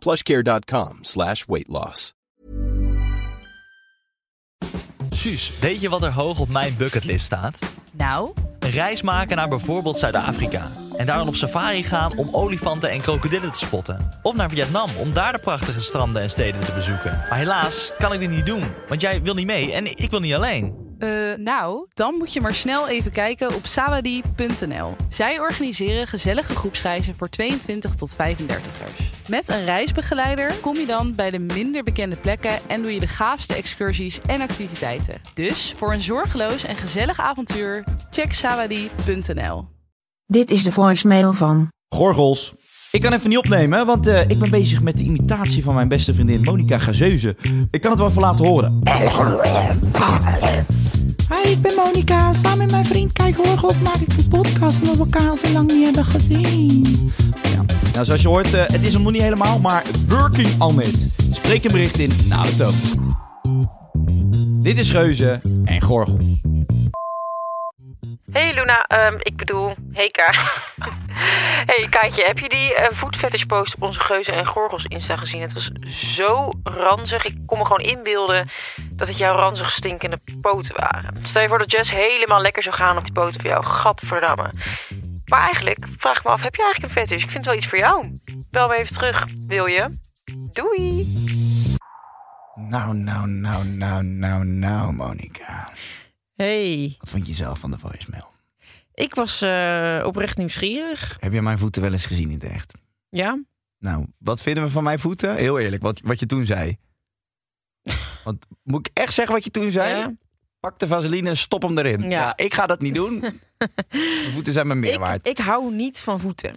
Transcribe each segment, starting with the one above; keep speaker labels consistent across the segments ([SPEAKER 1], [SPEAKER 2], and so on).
[SPEAKER 1] plushcare.com slash weight loss.
[SPEAKER 2] Suus, weet je wat er hoog op mijn bucketlist staat?
[SPEAKER 3] Nou,
[SPEAKER 2] Een reis maken naar bijvoorbeeld Zuid-Afrika. En daar dan op safari gaan om olifanten en krokodillen te spotten. Of naar Vietnam om daar de prachtige stranden en steden te bezoeken. Maar helaas kan ik dit niet doen, want jij wil niet mee en ik wil niet alleen.
[SPEAKER 3] eh, nou, dan moet je maar snel even kijken op sawadie.nl. Zij organiseren gezellige groepsreizen voor 22 tot 35ers. Met een reisbegeleider kom je dan bij de minder bekende plekken en doe je de gaafste excursies en activiteiten. Dus voor een zorgeloos en gezellig avontuur, check sawadie.nl.
[SPEAKER 4] Dit is de voicemail van.
[SPEAKER 5] Gorgels. Ik kan even niet opnemen, want eh, ik ben bezig met de imitatie van mijn beste vriendin Monica Gazeuze. Ik kan het wel even laten horen.
[SPEAKER 6] Hi, ik ben Monika. Samen met mijn vriend Kijk Horgels maak ik een podcast omdat we elkaar al zo lang niet hebben gezien.
[SPEAKER 5] Nou, zoals je hoort, eh, het is hem nog niet helemaal, maar working on it. Spreek een bericht in na de toon. Dit is Geuze en Gorgels.
[SPEAKER 7] Hey Luna, ehm, ik bedoel, hey Ka. hey Kaatje, heb je die eh foodfetish post op onze Geuzen en Gorgels Insta gezien? Het was zo ranzig. Ik kon me gewoon inbeelden dat het jouw ranzig stinkende poten waren. Stel je voor dat Jess helemaal lekker zou gaan op die poten van jou. Gadverdamme. Maar eigenlijk, vraag ik me af, heb je eigenlijk een fetish? Ik vind het wel iets voor jou. Bel me even terug, wil je? Doei!
[SPEAKER 5] Nou, nou, nou, nou, nou, nou, Monica.
[SPEAKER 8] Hey,
[SPEAKER 5] Wat vond je zelf van de voicemail?
[SPEAKER 8] ik was eh, oprecht nieuwsgierig.
[SPEAKER 5] Heb je mijn voeten wel eens gezien in het echt?
[SPEAKER 8] Ja,
[SPEAKER 5] Nou, wat vinden we van mijn voeten? Heel eerlijk, wat, wat je toen zei. Want moet ik echt zeggen wat je toen zei?
[SPEAKER 8] Ja.
[SPEAKER 5] Pak de vaseline en stop hem erin.
[SPEAKER 8] Ja.
[SPEAKER 5] Ja, ik ga dat niet doen. Mijn voeten zijn me meer
[SPEAKER 8] ik,
[SPEAKER 5] waard.
[SPEAKER 8] ik hou niet van voeten.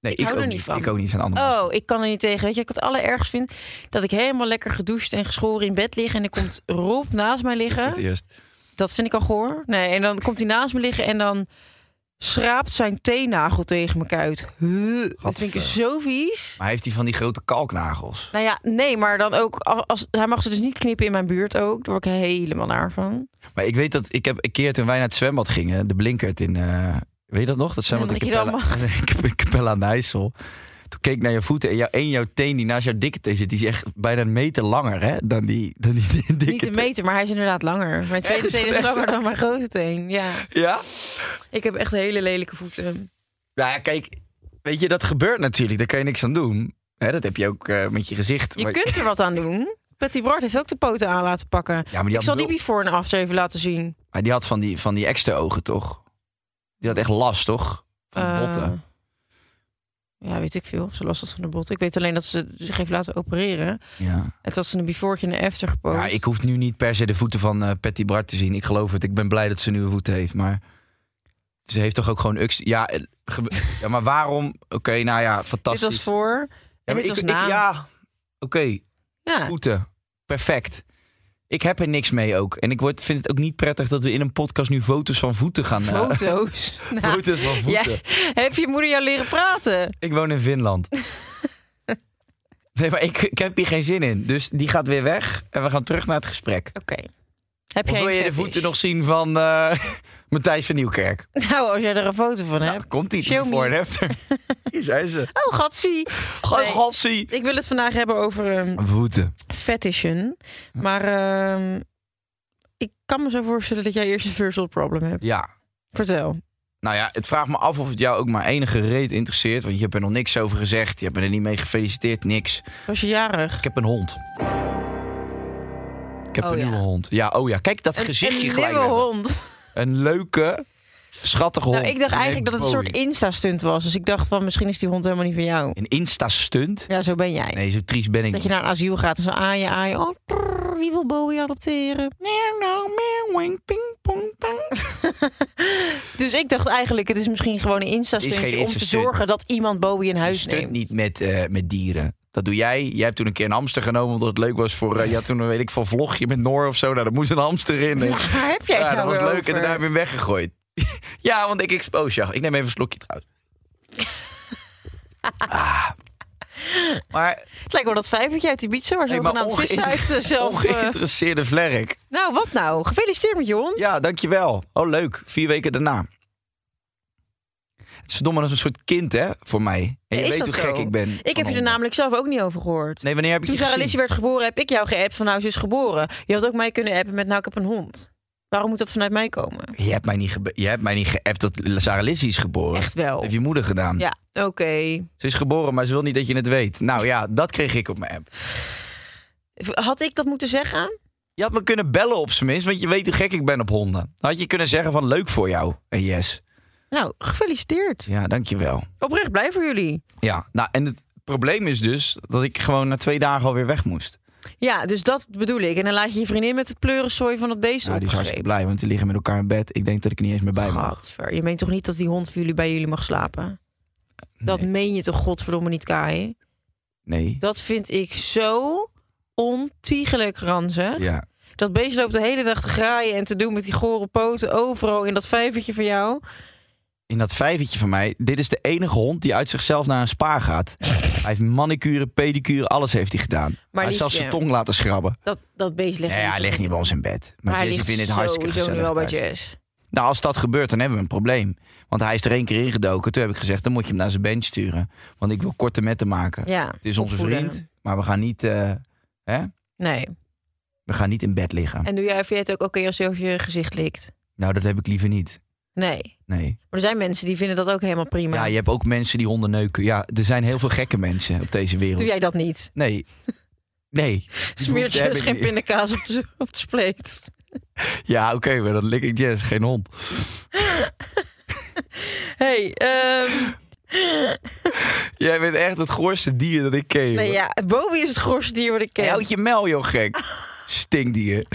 [SPEAKER 5] nee,
[SPEAKER 8] ik hou er niet van.
[SPEAKER 5] Ik ook niet van andere mensen.
[SPEAKER 8] Oh, ik kan er niet tegen. Weet je, wat ik het allerergst vind dat ik helemaal lekker gedoucht en geschoren in bed lig en er komt Rob naast mij
[SPEAKER 5] Voor het
[SPEAKER 8] liggen.
[SPEAKER 5] eerst.
[SPEAKER 8] Dat vind ik al goor. Nee, en dan komt hij naast me liggen en dan schraapt zijn teennagel tegen mijn kuit. Huh, Dat vind ik
[SPEAKER 5] Gadver.
[SPEAKER 8] zo vies.
[SPEAKER 5] Maar heeft hij van die grote kalknagels?
[SPEAKER 8] Nou ja, nee, maar dan ook als, als hij mag ze dus niet knippen in mijn buurt ook. Daar word ik helemaal naar van.
[SPEAKER 5] Maar ik weet dat ik heb een keer toen wij naar het zwembad gingen, de blinkert in. eh, weet je dat nog? Dat zwembad in
[SPEAKER 8] Hendrik
[SPEAKER 5] Capella, in Capella aan de IJssel. Toen keek ik naar je voeten en jouw, en jouw teen die naast jouw dikke teen zit, die is echt bijna een meter langer hè, dan die, dan die, dikke
[SPEAKER 8] niet een
[SPEAKER 5] teen.
[SPEAKER 8] meter, maar hij is inderdaad langer. Mijn tweede
[SPEAKER 5] Echt?
[SPEAKER 8] teen is
[SPEAKER 5] Echt?
[SPEAKER 8] langer dan mijn grote teen. Ja,
[SPEAKER 5] Ja?
[SPEAKER 8] ik heb echt hele lelijke voeten.
[SPEAKER 5] Nou ja, kijk, weet je, dat gebeurt natuurlijk. Daar kan je niks aan doen. Hè, dat heb je ook eh, met je gezicht.
[SPEAKER 8] Je
[SPEAKER 5] Maar-
[SPEAKER 8] kunt er wat aan doen. Betty Bart heeft ook de poten aan laten pakken.
[SPEAKER 5] Ja, maar die
[SPEAKER 8] Ik
[SPEAKER 5] had,
[SPEAKER 8] zal die
[SPEAKER 5] wel-
[SPEAKER 8] before en after even laten zien.
[SPEAKER 5] maar die had van die, van die extra ogen, toch? Die had echt last, toch? Van die
[SPEAKER 8] Eh,
[SPEAKER 5] botten.
[SPEAKER 8] ja, weet ik veel. Ze last had van de bot. Ik weet alleen dat ze zich heeft laten opereren.
[SPEAKER 5] Ja.
[SPEAKER 8] En dat ze een before en een after gepost.
[SPEAKER 5] ja, ik hoef nu niet per se de voeten van eh Patty Bart te zien. Ik geloof het. Ik ben blij dat ze nieuwe voeten heeft. Maar ze heeft toch ook gewoon... Ux... Ja, eh, ge- ja, maar waarom? Oké, nou ja,
[SPEAKER 8] Dit
[SPEAKER 5] fantastisch.
[SPEAKER 8] was voor
[SPEAKER 5] ja,
[SPEAKER 8] en
[SPEAKER 5] maar
[SPEAKER 8] dit was
[SPEAKER 5] ik,
[SPEAKER 8] na.
[SPEAKER 5] ik- ja, oké.
[SPEAKER 8] Ja.
[SPEAKER 5] voeten. Perfect. Ik heb er niks mee ook. En ik word, vind het ook niet prettig dat we in een podcast nu foto's van voeten gaan... eh,
[SPEAKER 8] Foto's. Nou,
[SPEAKER 5] foto's van voeten.
[SPEAKER 8] jij- heb je moeder jou leren praten?
[SPEAKER 5] Ik woon in Finland. nee, maar ik, ik heb hier geen zin in. Dus die gaat weer weg en we gaan terug naar het gesprek.
[SPEAKER 8] Oké. Heb
[SPEAKER 5] Of
[SPEAKER 8] jij
[SPEAKER 5] wil
[SPEAKER 8] een
[SPEAKER 5] je de
[SPEAKER 8] fetish?
[SPEAKER 5] voeten nog zien van eh, Matthijs van Nieuwkerk?
[SPEAKER 8] Nou, als jij er een foto van hebt.
[SPEAKER 5] Nou, komt die
[SPEAKER 8] show me.
[SPEAKER 5] voor en after. Hier zijn ze.
[SPEAKER 8] Oh, gatsie.
[SPEAKER 5] Gewoon
[SPEAKER 8] Nee.
[SPEAKER 5] gotsie.
[SPEAKER 8] Ik wil het vandaag hebben over ehm,
[SPEAKER 5] Oh. Voeten.
[SPEAKER 8] fetishen. Maar ehm, ik kan me zo voorstellen dat jij eerst een first world problem hebt.
[SPEAKER 5] Ja.
[SPEAKER 8] Vertel.
[SPEAKER 5] Nou ja, het vraagt me af of het jou ook maar enige reet interesseert. Want je hebt er nog niks over gezegd. Je hebt me er niet mee gefeliciteerd. Niks.
[SPEAKER 8] Was je jarig?
[SPEAKER 5] Ik heb een hond. Ik heb
[SPEAKER 8] Oh
[SPEAKER 5] een
[SPEAKER 8] ja.
[SPEAKER 5] nieuwe hond. Ja, oh ja. Kijk dat
[SPEAKER 8] Een-
[SPEAKER 5] gezichtje
[SPEAKER 8] een
[SPEAKER 5] gelijk.
[SPEAKER 8] nieuwe
[SPEAKER 5] weg.
[SPEAKER 8] hond.
[SPEAKER 5] Een leuke, schattige hond.
[SPEAKER 8] Nou, ik dacht eigenlijk dat het een soort insta-stunt was. Dus ik dacht van misschien is die hond helemaal niet van jou.
[SPEAKER 5] Een Insta-stunt?
[SPEAKER 8] Ja, zo ben jij.
[SPEAKER 5] Nee, zo triest ben ik
[SPEAKER 8] Dat je naar een asiel gaat en zo aaien, aaien. Oh, prrr, wie wil Bowie adopteren? Dus ik dacht eigenlijk, het is misschien gewoon een
[SPEAKER 5] Het is geen
[SPEAKER 8] insta-stuntje om te
[SPEAKER 5] insta-stunt.
[SPEAKER 8] zorgen dat iemand Bowie in
[SPEAKER 5] Je
[SPEAKER 8] huis
[SPEAKER 5] stunt
[SPEAKER 8] neemt.
[SPEAKER 5] niet met, eh, met dieren. Dat doe jij. Jij hebt toen een keer een hamster genomen omdat het leuk was voor... eh, je had toen een, weet ik van vlogje met Noor of zo. Nou, daar moest een hamster in. En-
[SPEAKER 8] Ja, waar heb jij het
[SPEAKER 5] ja, dat
[SPEAKER 8] nou
[SPEAKER 5] was
[SPEAKER 8] weer
[SPEAKER 5] leuk. En
[SPEAKER 8] over?
[SPEAKER 5] daarna heb je hem weggegooid. ja, want ik expose je. Ik neem even een slokje trouwens. Ah. Maar,
[SPEAKER 8] Het lijkt wel dat vijvertje uit die pizza waar ze
[SPEAKER 5] hey, maar
[SPEAKER 8] zogenaamd vissen uit
[SPEAKER 5] ongeïnter-
[SPEAKER 8] zichzelf... eh,
[SPEAKER 5] ongeïnteresseerde vlerk.
[SPEAKER 8] Nou, wat nou? Gefeliciteerd met je hond.
[SPEAKER 5] Ja, dankjewel. Oh, leuk. Vier weken daarna. Het is verdomme als een soort kind, hè, voor mij. En je
[SPEAKER 8] Is
[SPEAKER 5] weet
[SPEAKER 8] dat
[SPEAKER 5] hoe
[SPEAKER 8] zo?
[SPEAKER 5] gek ik ben.
[SPEAKER 8] Ik heb je er namelijk zelf ook niet over gehoord.
[SPEAKER 5] Nee, wanneer heb ik
[SPEAKER 8] Toen
[SPEAKER 5] je
[SPEAKER 8] Sarah
[SPEAKER 5] gezien?
[SPEAKER 8] Lizzie werd geboren, heb ik jou geappt van nou, ze is geboren. Je had ook mij kunnen appen met nou, ik heb een hond. Waarom moet dat vanuit mij komen?
[SPEAKER 5] Je hebt mij niet, gebe- je hebt mij niet geappt dat Sarah Lizzie is geboren.
[SPEAKER 8] Echt
[SPEAKER 5] Dat
[SPEAKER 8] wel.
[SPEAKER 5] heeft je moeder gedaan.
[SPEAKER 8] Ja, oké.
[SPEAKER 5] Ze is geboren, maar ze wil niet dat je het weet. Nou ja, dat kreeg ik op mijn app.
[SPEAKER 8] Had ik dat moeten zeggen?
[SPEAKER 5] Je had me kunnen bellen op zijn minst, want je weet hoe gek ik ben op honden. Dan had je kunnen zeggen van leuk voor jou. En yes.
[SPEAKER 8] Nou, gefeliciteerd.
[SPEAKER 5] Ja, dankjewel.
[SPEAKER 8] Oprecht blij voor jullie.
[SPEAKER 5] Ja, nou en het probleem is dus dat ik gewoon na twee dagen alweer weg moest. Nou,
[SPEAKER 8] Ja, dus dat bedoel ik. En dan laat je je vriendin met de pleurensooi van het beest
[SPEAKER 5] Nou, die is hartstikke
[SPEAKER 8] opgrepen.
[SPEAKER 5] blij, want die liggen met elkaar in bed. Ik denk dat ik er niet eens meer bij mag.
[SPEAKER 8] Gadver, je meent toch niet dat die hond voor jullie bij jullie mag slapen? Dat
[SPEAKER 5] Nee.
[SPEAKER 8] meen je toch godverdomme niet, Kai?
[SPEAKER 5] Nee.
[SPEAKER 8] Dat vind ik zo ontiegelijk ranzig.
[SPEAKER 5] Ja.
[SPEAKER 8] Dat beest loopt de hele dag te graaien en te doen met die gore poten overal in dat vijvertje van jou.
[SPEAKER 5] In dat vijvertje van mij, dit is de enige hond die uit zichzelf naar een spa gaat. hij heeft manicure, pedicure, alles heeft hij gedaan. hij heeft zelfs zijn
[SPEAKER 8] liefje,
[SPEAKER 5] tong laten schrabben.
[SPEAKER 8] Dat, dat beest ligt
[SPEAKER 5] Nee, hij ligt niet bij ons in bed. Maar,
[SPEAKER 8] Maar hij
[SPEAKER 5] Jesse
[SPEAKER 8] ligt
[SPEAKER 5] vindt het hartstikke
[SPEAKER 8] sowieso nu
[SPEAKER 5] gezellig
[SPEAKER 8] wel bij
[SPEAKER 5] thuis.
[SPEAKER 8] Jess.
[SPEAKER 5] Nou, als dat gebeurt, dan hebben we een probleem. Want hij is er één keer ingedoken. Toen heb ik gezegd, dan moet je hem naar zijn bench sturen. Want ik wil korte metten maken.
[SPEAKER 8] Ja,
[SPEAKER 5] het is onze
[SPEAKER 8] opvoeden.
[SPEAKER 5] vriend, maar we gaan, niet, eh, hè?
[SPEAKER 8] nee.
[SPEAKER 5] we gaan niet in bed liggen.
[SPEAKER 8] En doe jij, vind jij het ook oké als je over je gezicht likt?
[SPEAKER 5] Nou, dat heb ik liever niet.
[SPEAKER 8] Nee.
[SPEAKER 5] Nee.
[SPEAKER 8] Maar er zijn mensen die vinden dat ook helemaal prima.
[SPEAKER 5] Ja, je hebt ook mensen die honden neuken. Ja, er zijn heel veel gekke mensen op deze wereld.
[SPEAKER 8] Doe jij dat niet?
[SPEAKER 5] Nee. Nee. Die
[SPEAKER 8] Smeert
[SPEAKER 5] behoefte
[SPEAKER 8] je
[SPEAKER 5] heb
[SPEAKER 8] dus
[SPEAKER 5] ik
[SPEAKER 8] geen
[SPEAKER 5] niet.
[SPEAKER 8] pindakaas op de, op de spleet?
[SPEAKER 5] Ja, oké, maar dat lik ik Jess, geen hond.
[SPEAKER 8] Hey, ehm,
[SPEAKER 5] Jij bent echt het goorste dier dat ik ken.
[SPEAKER 8] nou ja, Bowie is het grootste dier wat ik ken.
[SPEAKER 5] Houd je mel, joh, gek. Stinkdier.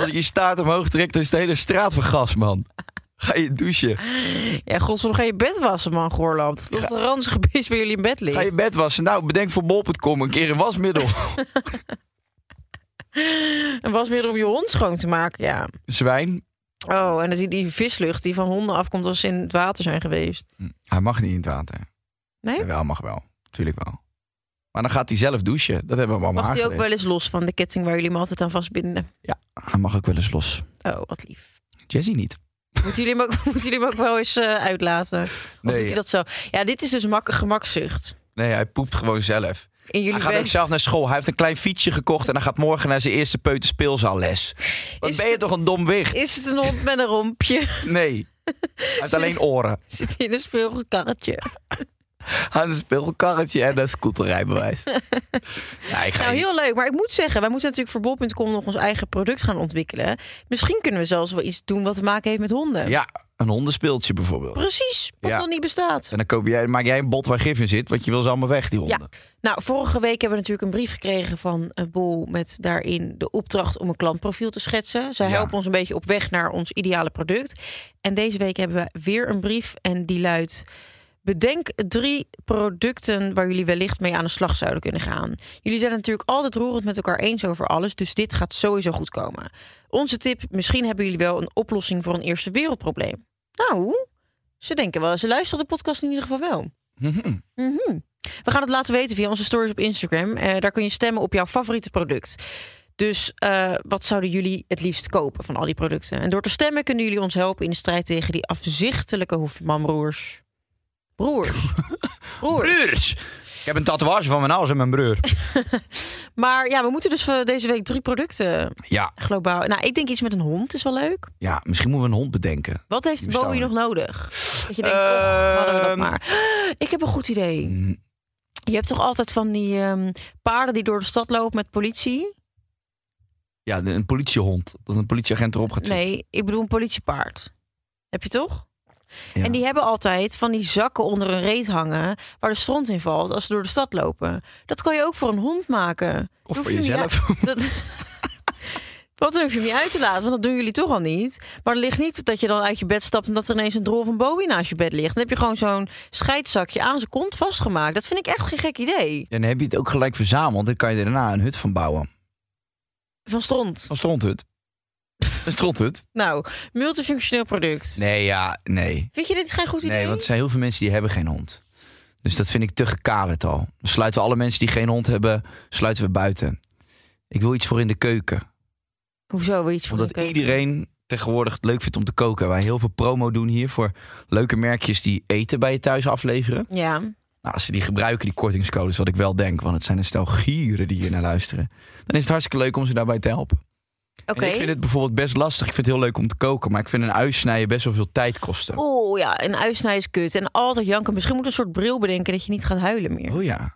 [SPEAKER 5] Als ik je staart omhoog trekt, dan is de hele straat vergas, man. Ga je douchen.
[SPEAKER 8] Ja, godsverdomme, ga je bed wassen, man, Goorland. Dat een ranzige beest bij jullie in bed ligt.
[SPEAKER 5] Ga je bed wassen. Nou, bedenk voor bol.com een keer een wasmiddel.
[SPEAKER 8] En was meer om je hond schoon te maken, ja.
[SPEAKER 5] Zwijn.
[SPEAKER 8] Oh, en dat die, die vislucht die van honden afkomt als ze in het water zijn geweest.
[SPEAKER 5] Hm, Hij mag niet in het water.
[SPEAKER 8] Nee?
[SPEAKER 5] Jawel, mag wel. Tuurlijk wel. Maar dan gaat hij zelf douchen. Dat hebben we hem allemaal
[SPEAKER 8] Mag die ook
[SPEAKER 5] aangeleerd.
[SPEAKER 8] wel eens los van de ketting waar jullie me altijd aan vastbinden?
[SPEAKER 5] Hij mag ook wel eens los.
[SPEAKER 8] Oh, wat lief.
[SPEAKER 5] Jesse niet.
[SPEAKER 8] Moeten jullie hem ook, moeten jullie hem ook wel eens eh, uitlaten? Of
[SPEAKER 5] Nee,
[SPEAKER 8] doet hij dat zo? Ja, dit is dus mak gemakzucht.
[SPEAKER 5] Nee, hij poept gewoon zelf.
[SPEAKER 8] In jullie
[SPEAKER 5] Hij gaat ook
[SPEAKER 8] bed.
[SPEAKER 5] zelf naar school. Hij heeft een klein fietsje gekocht en hij gaat morgen naar zijn eerste peuterspeelzaalles. Wat
[SPEAKER 8] Is
[SPEAKER 5] ben je
[SPEAKER 8] het-
[SPEAKER 5] toch een dom wicht?
[SPEAKER 8] Is het een hond met een rompje?
[SPEAKER 5] Nee. Hij heeft alleen oren.
[SPEAKER 8] Zit hij in een speelgoedkarretje?
[SPEAKER 5] Hij heeft een speelkarretje en een scooterrijbewijs. ja, ik ga
[SPEAKER 8] Nou,
[SPEAKER 5] niet-
[SPEAKER 8] heel leuk. Maar ik moet zeggen, wij moeten natuurlijk voor bol.com nog ons eigen product gaan ontwikkelen. Misschien kunnen we zelfs wel iets doen wat te maken heeft met honden.
[SPEAKER 5] Ja, een hondenspeeltje bijvoorbeeld.
[SPEAKER 8] Precies, wat
[SPEAKER 5] Ja.
[SPEAKER 8] nog niet bestaat.
[SPEAKER 5] En dan koop jij, maak jij een bot waar gif in zit, want je wil ze allemaal weg, die honden.
[SPEAKER 8] Nou, vorige week hebben we natuurlijk een brief gekregen van eh, Bol met daarin de opdracht om een klantprofiel te schetsen. Zij
[SPEAKER 5] Ja.
[SPEAKER 8] helpen ons een beetje op weg naar ons ideale product. En deze week hebben we weer een brief en die luidt: bedenk drie producten waar jullie wellicht mee aan de slag zouden kunnen gaan. Jullie zijn het natuurlijk altijd roerend met elkaar eens over alles, dus dit gaat sowieso goed komen. Onze tip: misschien hebben jullie wel een oplossing voor een eerste wereldprobleem. Nou, ze denken wel, ze luisteren de podcast in ieder geval wel.
[SPEAKER 5] Mhm.
[SPEAKER 8] Mhm. We gaan het laten weten via onze stories op Instagram. Eh, daar kun je stemmen op jouw favoriete product. Dus eh, wat zouden jullie het liefst kopen van al die producten? En door te stemmen kunnen jullie ons helpen in de strijd tegen die afzichtelijke hoefmamroers. Broers. Broers.
[SPEAKER 5] Broers! Ik heb een tatoeage van mijn hals en mijn broer.
[SPEAKER 8] Maar ja, we moeten dus eh, deze week drie producten
[SPEAKER 5] Ja,
[SPEAKER 8] globaal. Nou, ik denk iets met een hond is wel leuk.
[SPEAKER 5] ja, misschien moeten we een hond bedenken.
[SPEAKER 8] Wat heeft
[SPEAKER 5] Die bestaan
[SPEAKER 8] Bowie
[SPEAKER 5] er.
[SPEAKER 8] nog nodig? Dat je denkt, oh, hadden we dat
[SPEAKER 5] Ehm.
[SPEAKER 8] maar. Ik heb een goed idee.
[SPEAKER 5] Mm,
[SPEAKER 8] Je hebt toch altijd van die ehm, paarden die door de stad lopen met politie?
[SPEAKER 5] Ja, de- een politiehond. Dat een politieagent erop gaat zitten.
[SPEAKER 8] Nee, ik bedoel een politiepaard. Heb je toch?
[SPEAKER 5] Ja.
[SPEAKER 8] En die hebben altijd van die zakken onder hun reet hangen... waar de stront in valt als ze door de stad lopen. Dat kan je ook voor een hond maken.
[SPEAKER 5] Of
[SPEAKER 8] Hoef
[SPEAKER 5] voor
[SPEAKER 8] je niet-
[SPEAKER 5] jezelf.
[SPEAKER 8] Dat... Want dan hoef je hem niet uit te laten, want dat doen jullie toch al niet. Maar het ligt niet dat je dan uit je bed stapt en dat er ineens een drol van Bowie naast je bed ligt. Dan heb je gewoon zo'n scheidzakje aan zijn kont vastgemaakt. Dat vind ik echt geen gek idee.
[SPEAKER 5] En dan heb je het ook gelijk verzameld. Dan kan je er daarna een hut van bouwen.
[SPEAKER 8] Van stront.
[SPEAKER 5] Een stronthut. Een stronthut?
[SPEAKER 8] Nou, multifunctioneel product.
[SPEAKER 5] Nee, ja, nee.
[SPEAKER 8] Vind je dit geen goed idee?
[SPEAKER 5] Nee, want er zijn heel veel mensen die hebben geen hond. Dus dat vind ik te gekaderd al. Dan sluiten we alle mensen die geen hond hebben, sluiten we buiten. Ik wil iets voor in de keuken.
[SPEAKER 8] Hoezo weer iets van
[SPEAKER 5] Omdat
[SPEAKER 8] elkaar?
[SPEAKER 5] iedereen tegenwoordig het leuk vindt om te koken. Wij heel veel promo doen hier voor leuke merkjes die eten bij je thuis afleveren.
[SPEAKER 8] Ja,
[SPEAKER 5] Nou, als ze die gebruiken, die kortingscodes, wat ik wel denk, want het zijn een stel gieren die hier naar luisteren. Dan is het hartstikke leuk om ze daarbij te helpen.
[SPEAKER 8] oké.
[SPEAKER 5] En ik vind het bijvoorbeeld best lastig. Ik vind het heel leuk om te koken, maar ik vind een uitsnijden best wel veel tijd kosten.
[SPEAKER 8] Oh ja, een uitsnij is kut. En altijd janken. Misschien moet een soort bril bedenken dat je niet gaat huilen meer.
[SPEAKER 5] Oh ja,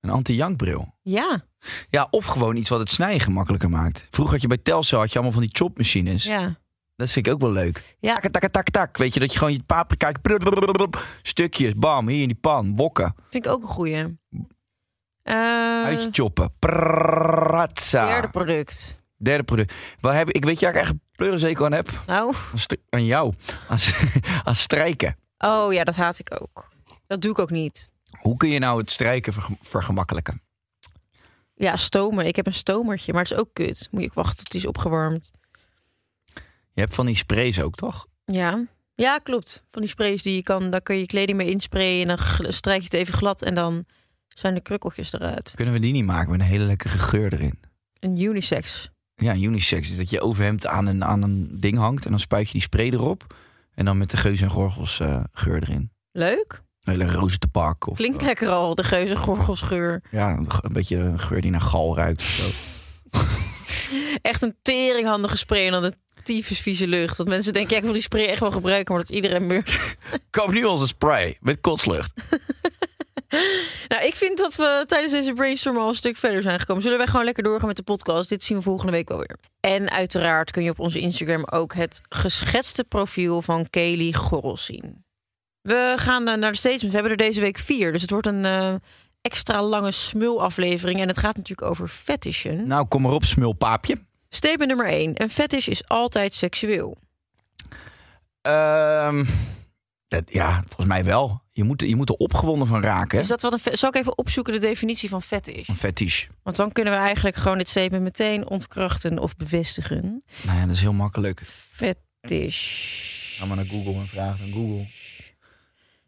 [SPEAKER 5] een anti-jankbril.
[SPEAKER 8] Ja,
[SPEAKER 5] Ja, of gewoon iets wat het snijden gemakkelijker maakt. Vroeger had je bij Telcel had je allemaal van die chopmachines.
[SPEAKER 8] ja.
[SPEAKER 5] Dat vind ik ook wel leuk.
[SPEAKER 8] Ja.
[SPEAKER 5] Tak, tak, tak, tak. Weet je, dat je gewoon je paprika... Stukjes, bam, hier in die pan, bokken.
[SPEAKER 8] Vind ik ook een goeie. Eh,
[SPEAKER 5] Uitje choppen. Pratsa.
[SPEAKER 8] derde product.
[SPEAKER 5] Derde product. Waar heb ik, ik weet je waar ik echt een pleurenzeker aan heb?
[SPEAKER 8] Nou,
[SPEAKER 5] Aan, stri- aan jou. Aan, s- aan strijken.
[SPEAKER 8] oh ja, dat haat ik ook. Dat doe ik ook niet.
[SPEAKER 5] Hoe kun je nou het strijken verge- vergemakkelijken?
[SPEAKER 8] Ja, stomen. Ik heb een stomertje, maar het is ook kut. Moet je ook wachten tot die is opgewarmd.
[SPEAKER 5] Je hebt van die sprays ook, toch?
[SPEAKER 8] Ja. Ja, klopt. Van die sprays die je kan, daar kun je je kleding mee insprayen. En dan gl- strijk je het even glad en dan zijn de krukkeltjes eruit.
[SPEAKER 5] Kunnen we die niet maken met een hele lekkere geur erin?
[SPEAKER 8] Een unisex.
[SPEAKER 5] Ja, een unisex. is Dat je overhemd aan een, aan een ding hangt en dan spuit je die spray erop. En dan met de geuzen en gorgels eh, geur erin.
[SPEAKER 8] Leuk.
[SPEAKER 5] Een hele rozen te pak. Of,
[SPEAKER 8] Klinkt lekker al, de geuze gorgelsgeur.
[SPEAKER 5] Ja, een, ge- een beetje een geur die naar gal ruikt. of zo.
[SPEAKER 8] echt een teringhandige spray en dan de tyfus vieze lucht. Dat mensen denken, ja, ik wil die spray echt wel gebruiken, maar dat iedereen meer...
[SPEAKER 5] Koop nu onze spray met kotslucht.
[SPEAKER 8] Nou, ik vind dat we tijdens deze brainstorm al een stuk verder zijn gekomen. Zullen wij gewoon lekker doorgaan met de podcast? Dit zien we volgende week wel weer. En uiteraard kun je op onze Instagram ook het geschetste profiel van Kelly Gorrels zien. We gaan eh, naar de statements. We hebben er deze week vier, dus het wordt een eh, extra lange smulaflevering. En het gaat natuurlijk over fetishen.
[SPEAKER 5] Nou, kom maar op, smulpaapje.
[SPEAKER 8] Statement nummer 1. Een fetish is altijd seksueel.
[SPEAKER 5] Ehm, dat, ja, volgens mij wel. Je moet, je moet er opgewonden van raken. hè?
[SPEAKER 8] Is Dus dat wat een fe- Zal ik even opzoeken de definitie van fetish?
[SPEAKER 5] Een fetish.
[SPEAKER 8] Want dan kunnen we eigenlijk gewoon dit statement meteen ontkrachten of bevestigen.
[SPEAKER 5] Nou ja, dat is heel makkelijk.
[SPEAKER 8] Fetish.
[SPEAKER 5] Ga maar naar Google en vraag aan Google.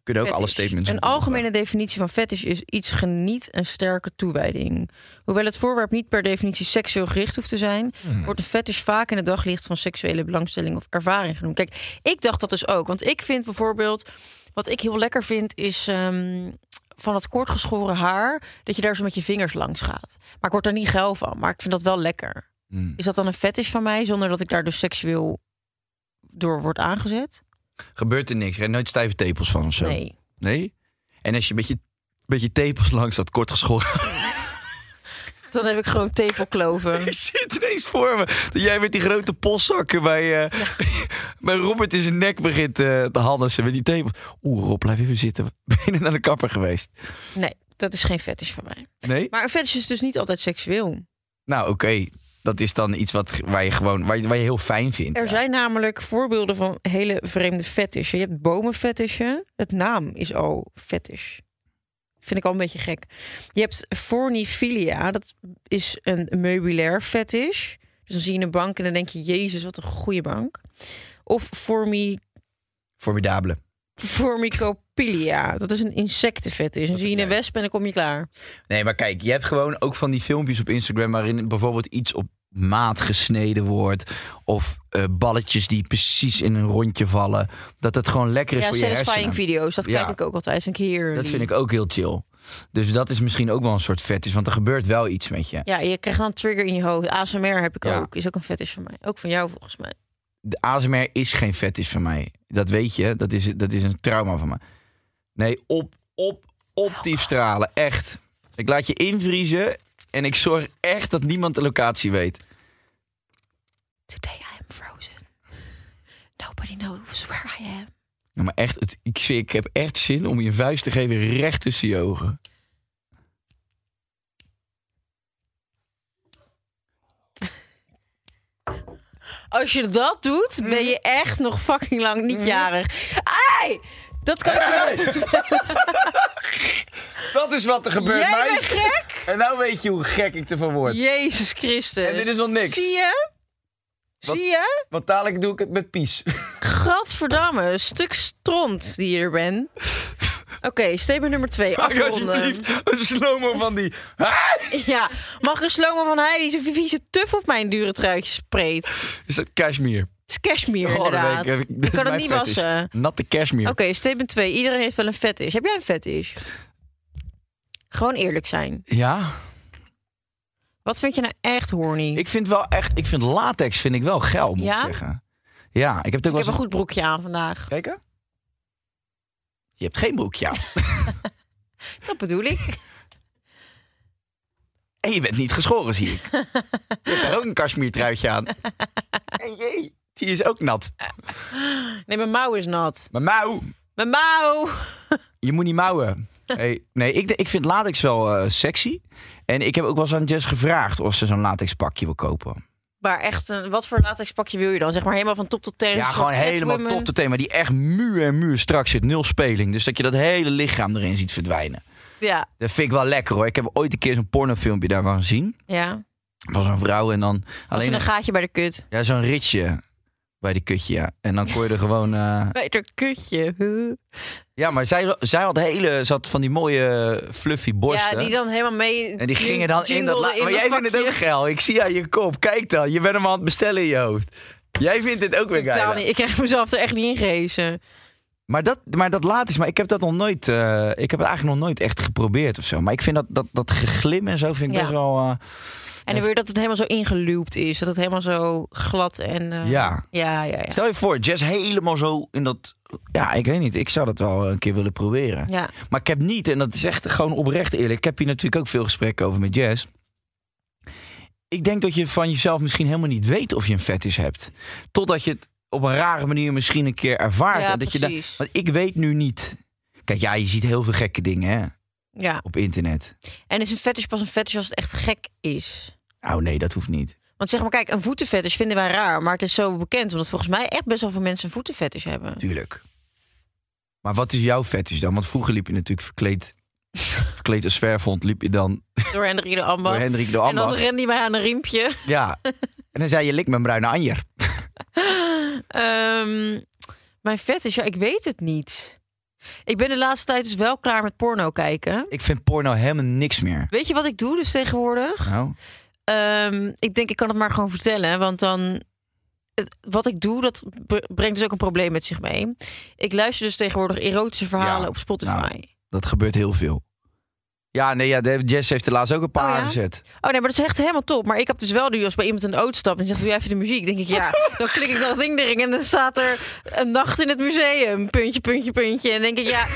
[SPEAKER 5] Kunnen ook alle
[SPEAKER 8] Fetish.
[SPEAKER 5] statements.
[SPEAKER 8] Een
[SPEAKER 5] op Google
[SPEAKER 8] algemene definitie van fetish is iets geniet en sterke toewijding. Hoewel het voorwerp niet per definitie seksueel gericht hoeft te zijn,
[SPEAKER 5] Hmm.
[SPEAKER 8] wordt een fetish vaak in het daglicht van seksuele belangstelling of ervaring genoemd. Kijk, ik dacht dat dus ook, want ik vind bijvoorbeeld wat ik heel lekker vind is ehm, van dat kortgeschoren haar dat je daar zo met je vingers langs gaat. Maar ik word er niet geil van, maar ik vind dat wel lekker.
[SPEAKER 5] vragen. Mm.
[SPEAKER 8] Is dat dan een fetish van mij zonder dat ik daar dus seksueel door word aangezet?
[SPEAKER 5] Gebeurt er niks. Er nooit stijve tepels van of zo.
[SPEAKER 8] Nee.
[SPEAKER 5] Nee? En als je met je, met je tepels langs dat kortgeschoren...
[SPEAKER 8] Dan heb ik gewoon tepelkloven.
[SPEAKER 5] Ik zit ineens voor me. Dat jij met die grote postzakken bij, eh, bij Robert in zijn nek begint eh te handelsen met die tepels. Oeh, Rob, blijf even zitten. Ben je net naar de kapper geweest?
[SPEAKER 8] Nee, dat is geen fetish van mij.
[SPEAKER 5] Nee?
[SPEAKER 8] Maar een fetish is dus niet altijd seksueel.
[SPEAKER 5] Nou, oké. Dat is dan iets wat, waar, je gewoon, waar, je, waar je heel fijn vindt.
[SPEAKER 8] Er zijn namelijk voorbeelden van hele vreemde fetishen. Je hebt bomenfetishen. Het naam is al fetish. Vind ik al een beetje gek. Je hebt fornifilia. Dat is een meubilair fetish. Dus dan zie je een bank en dan denk je... Jezus, wat een goede bank. Of formi
[SPEAKER 5] Formidabele.
[SPEAKER 8] Formicopilia. Dat is een insectenfetish. Dan zie je een wesp en dan kom je klaar.
[SPEAKER 5] Nee, maar kijk, je hebt gewoon ook van die filmpjes op Instagram waarin bijvoorbeeld iets op maat gesneden wordt. Of eh, balletjes die precies in een rondje vallen. Dat het gewoon lekker is
[SPEAKER 8] Ja,
[SPEAKER 5] voor je hersenen.
[SPEAKER 8] satisfying video's. Dat
[SPEAKER 5] Ja.
[SPEAKER 8] kijk ik ook altijd. Vind ik heerlijk.
[SPEAKER 5] Dat vind ik ook heel chill. Dus dat is misschien ook wel een soort fetish, want er gebeurt wel iets met je.
[SPEAKER 8] Ja, je krijgt dan een trigger in je hoofd. ASMR heb ik
[SPEAKER 5] Ja.
[SPEAKER 8] ook. Is ook een fetish van mij. Ook van jou volgens mij.
[SPEAKER 5] De ASMR is geen fetish van mij. Dat weet je, dat is, dat is een trauma van mij. Nee, op, op, optief stralen, echt. Ik laat je invriezen en ik zorg echt dat niemand de locatie weet.
[SPEAKER 8] Today I am frozen. Nobody knows where I am.
[SPEAKER 5] Ja, maar echt, het, ik, zie- ik heb echt zin om je vuist te geven recht tussen je ogen.
[SPEAKER 8] Als je dat doet, ben je echt nog fucking lang niet jarig. Ai! Dat kan ik wel.
[SPEAKER 5] Dat is wat er gebeurt,
[SPEAKER 8] Jij bent
[SPEAKER 5] meisje.
[SPEAKER 8] gek?
[SPEAKER 5] En nou weet je hoe gek ik ervan word.
[SPEAKER 8] Jezus Christus.
[SPEAKER 5] En dit is nog niks.
[SPEAKER 8] Zie je?
[SPEAKER 5] Wat-
[SPEAKER 8] Zie je?
[SPEAKER 5] Want dadelijk doe ik het met pies.
[SPEAKER 8] Gadverdamme, een stuk stront die je er bent. Oké, statement nummer twee.
[SPEAKER 5] Maak
[SPEAKER 8] Afronden.
[SPEAKER 5] alsjeblieft een slomo van die. Ah!
[SPEAKER 8] Ja, mag ik een slomo van hij die zijn vieze tuf op mijn dure truitje spreekt? Het
[SPEAKER 5] Is dat cashmere?
[SPEAKER 8] is cashmere,
[SPEAKER 5] Oh, dat
[SPEAKER 8] inderdaad.
[SPEAKER 5] weet ik.
[SPEAKER 8] Je
[SPEAKER 5] Dit is
[SPEAKER 8] kan het
[SPEAKER 5] mijn
[SPEAKER 8] niet
[SPEAKER 5] fetish.
[SPEAKER 8] wassen.
[SPEAKER 5] Natte cashmere.
[SPEAKER 8] Oké, statement 2. Iedereen heeft wel een fetish. Heb jij een fetish? Gewoon eerlijk zijn.
[SPEAKER 5] Ja.
[SPEAKER 8] Wat vind je nou echt horny?
[SPEAKER 5] Ik vind wel echt. Ik vind latex vind ik wel geil, moet
[SPEAKER 8] Ja?
[SPEAKER 5] ik zeggen. Ja, ik heb het ook
[SPEAKER 8] Ik
[SPEAKER 5] wel
[SPEAKER 8] heb
[SPEAKER 5] eens-
[SPEAKER 8] een goed broekje aan vandaag.
[SPEAKER 5] Kijken? Je hebt geen broekje aan.
[SPEAKER 8] Dat bedoel ik.
[SPEAKER 5] En je bent niet geschoren, zie ik. Je hebt daar ook een cashmere truitje aan. En jee, die is ook nat.
[SPEAKER 8] Nee, mijn mouw is nat.
[SPEAKER 5] Maar mouw,
[SPEAKER 8] Mijn mouw!
[SPEAKER 5] je moet niet mouwen. Hey, nee, ik, ik vind latex wel eh, sexy. En ik heb ook wel eens aan Jess gevraagd of ze zo'n latex pakje wil kopen.
[SPEAKER 8] Maar echt, een, wat voor latex pakje wil je dan? Zeg maar helemaal van top tot teen.
[SPEAKER 5] Ja,
[SPEAKER 8] zo'n
[SPEAKER 5] gewoon helemaal
[SPEAKER 8] Catwoman.
[SPEAKER 5] top tot thema. Die echt muur en muur strak zit. Nul speling. Dus dat je dat hele lichaam erin ziet verdwijnen.
[SPEAKER 8] Ja,
[SPEAKER 5] Dat vind ik wel lekker hoor. Ik heb ooit een keer zo'n pornofilmpje daarvan gezien.
[SPEAKER 8] ja.
[SPEAKER 5] Van zo'n vrouw en dan...
[SPEAKER 8] Als
[SPEAKER 5] alleen
[SPEAKER 8] een gaatje bij de kut.
[SPEAKER 5] Ja, zo'n ritje bij die kutje, ja. En dan kon je er gewoon... eh,
[SPEAKER 8] Bij de kutje.
[SPEAKER 5] Ja, maar zij, zij had hele... Ze had van die mooie fluffy
[SPEAKER 8] Ja,
[SPEAKER 5] borsten.
[SPEAKER 8] die dan helemaal mee...
[SPEAKER 5] En die gingen dan in dat... la-
[SPEAKER 8] jingelden in
[SPEAKER 5] maar jij
[SPEAKER 8] dat
[SPEAKER 5] vindt het ook
[SPEAKER 8] pakje.
[SPEAKER 5] geil. Ik zie aan je kop. Kijk dan. Je bent hem aan het bestellen in je hoofd. Jij vindt dit ook weer
[SPEAKER 8] Totaal
[SPEAKER 5] geil.
[SPEAKER 8] niet. Ik krijg mezelf er echt niet in gehezen.
[SPEAKER 5] Maar dat, maar dat laat is. Maar ik heb dat nog nooit... eh, ik heb het eigenlijk nog nooit echt geprobeerd of zo. Maar ik vind dat, dat, dat geglim en zo vind ik
[SPEAKER 8] Ja.
[SPEAKER 5] best wel... eh,
[SPEAKER 8] En dan weer dat het helemaal zo ingeluwd is. Dat het helemaal zo glad en... eh,
[SPEAKER 5] Ja.
[SPEAKER 8] Ja, ja, ja.
[SPEAKER 5] Stel je voor, Jess helemaal zo in dat... Ja, ik weet niet. Ik zou dat wel een keer willen proberen.
[SPEAKER 8] Ja,
[SPEAKER 5] Maar ik heb niet, en dat is echt gewoon oprecht eerlijk. Ik heb hier natuurlijk ook veel gesprekken over met Jess. Ik denk dat je van jezelf misschien helemaal niet weet of je een fetish hebt. Totdat je het op een rare manier misschien een keer ervaart.
[SPEAKER 8] ja
[SPEAKER 5] en dat je dan-
[SPEAKER 8] precies.
[SPEAKER 5] want ik weet nu niet. Kijk, ja, je ziet heel veel gekke dingen hè,
[SPEAKER 8] Ja.
[SPEAKER 5] op internet.
[SPEAKER 8] En is een fetish pas een fetish als het echt gek is?
[SPEAKER 5] Oh nee, dat hoeft niet.
[SPEAKER 8] Want zeg maar, kijk, een voetenfetish vinden wij raar. Maar het is zo bekend, omdat volgens mij echt best wel veel mensen een voetenfetish hebben.
[SPEAKER 5] Tuurlijk. Maar wat is jouw fetish dan? Want vroeger liep je natuurlijk verkleed, verkleed als zwerfhond. Liep je dan
[SPEAKER 8] Door Hendrik de Ambacht.
[SPEAKER 5] door Hendrik de
[SPEAKER 8] En dan
[SPEAKER 5] Ambacht.
[SPEAKER 8] rende hij mij aan een riempje.
[SPEAKER 5] Ja. En dan zei je, lik mijn bruine anjer.
[SPEAKER 8] Ehm, mijn fetish, ja, ik weet het niet. Ik ben de laatste tijd dus wel klaar met porno kijken.
[SPEAKER 5] Ik vind porno helemaal niks meer.
[SPEAKER 8] Weet je wat ik doe dus tegenwoordig?
[SPEAKER 5] Nou,
[SPEAKER 8] Ehm, ik denk, ik kan het maar gewoon vertellen. Want dan. het- Wat ik doe, dat bre- brengt dus ook een probleem met zich mee. Ik luister dus tegenwoordig erotische verhalen
[SPEAKER 5] Ja,
[SPEAKER 8] op Spotify.
[SPEAKER 5] nou. dat gebeurt heel veel. Ja, nee, ja, de- Jess heeft er laatst ook een paar
[SPEAKER 8] Oh, ja?
[SPEAKER 5] aangezet.
[SPEAKER 8] Oh nee, maar dat is echt helemaal top. Maar ik heb dus wel nu als bij iemand in de auto stapt en zegt: Doe jij even de muziek? Denk ik ja. Dan klik ik dat ding erin en dan staat er een nacht in het museum. Puntje, puntje, puntje. En denk ik ja.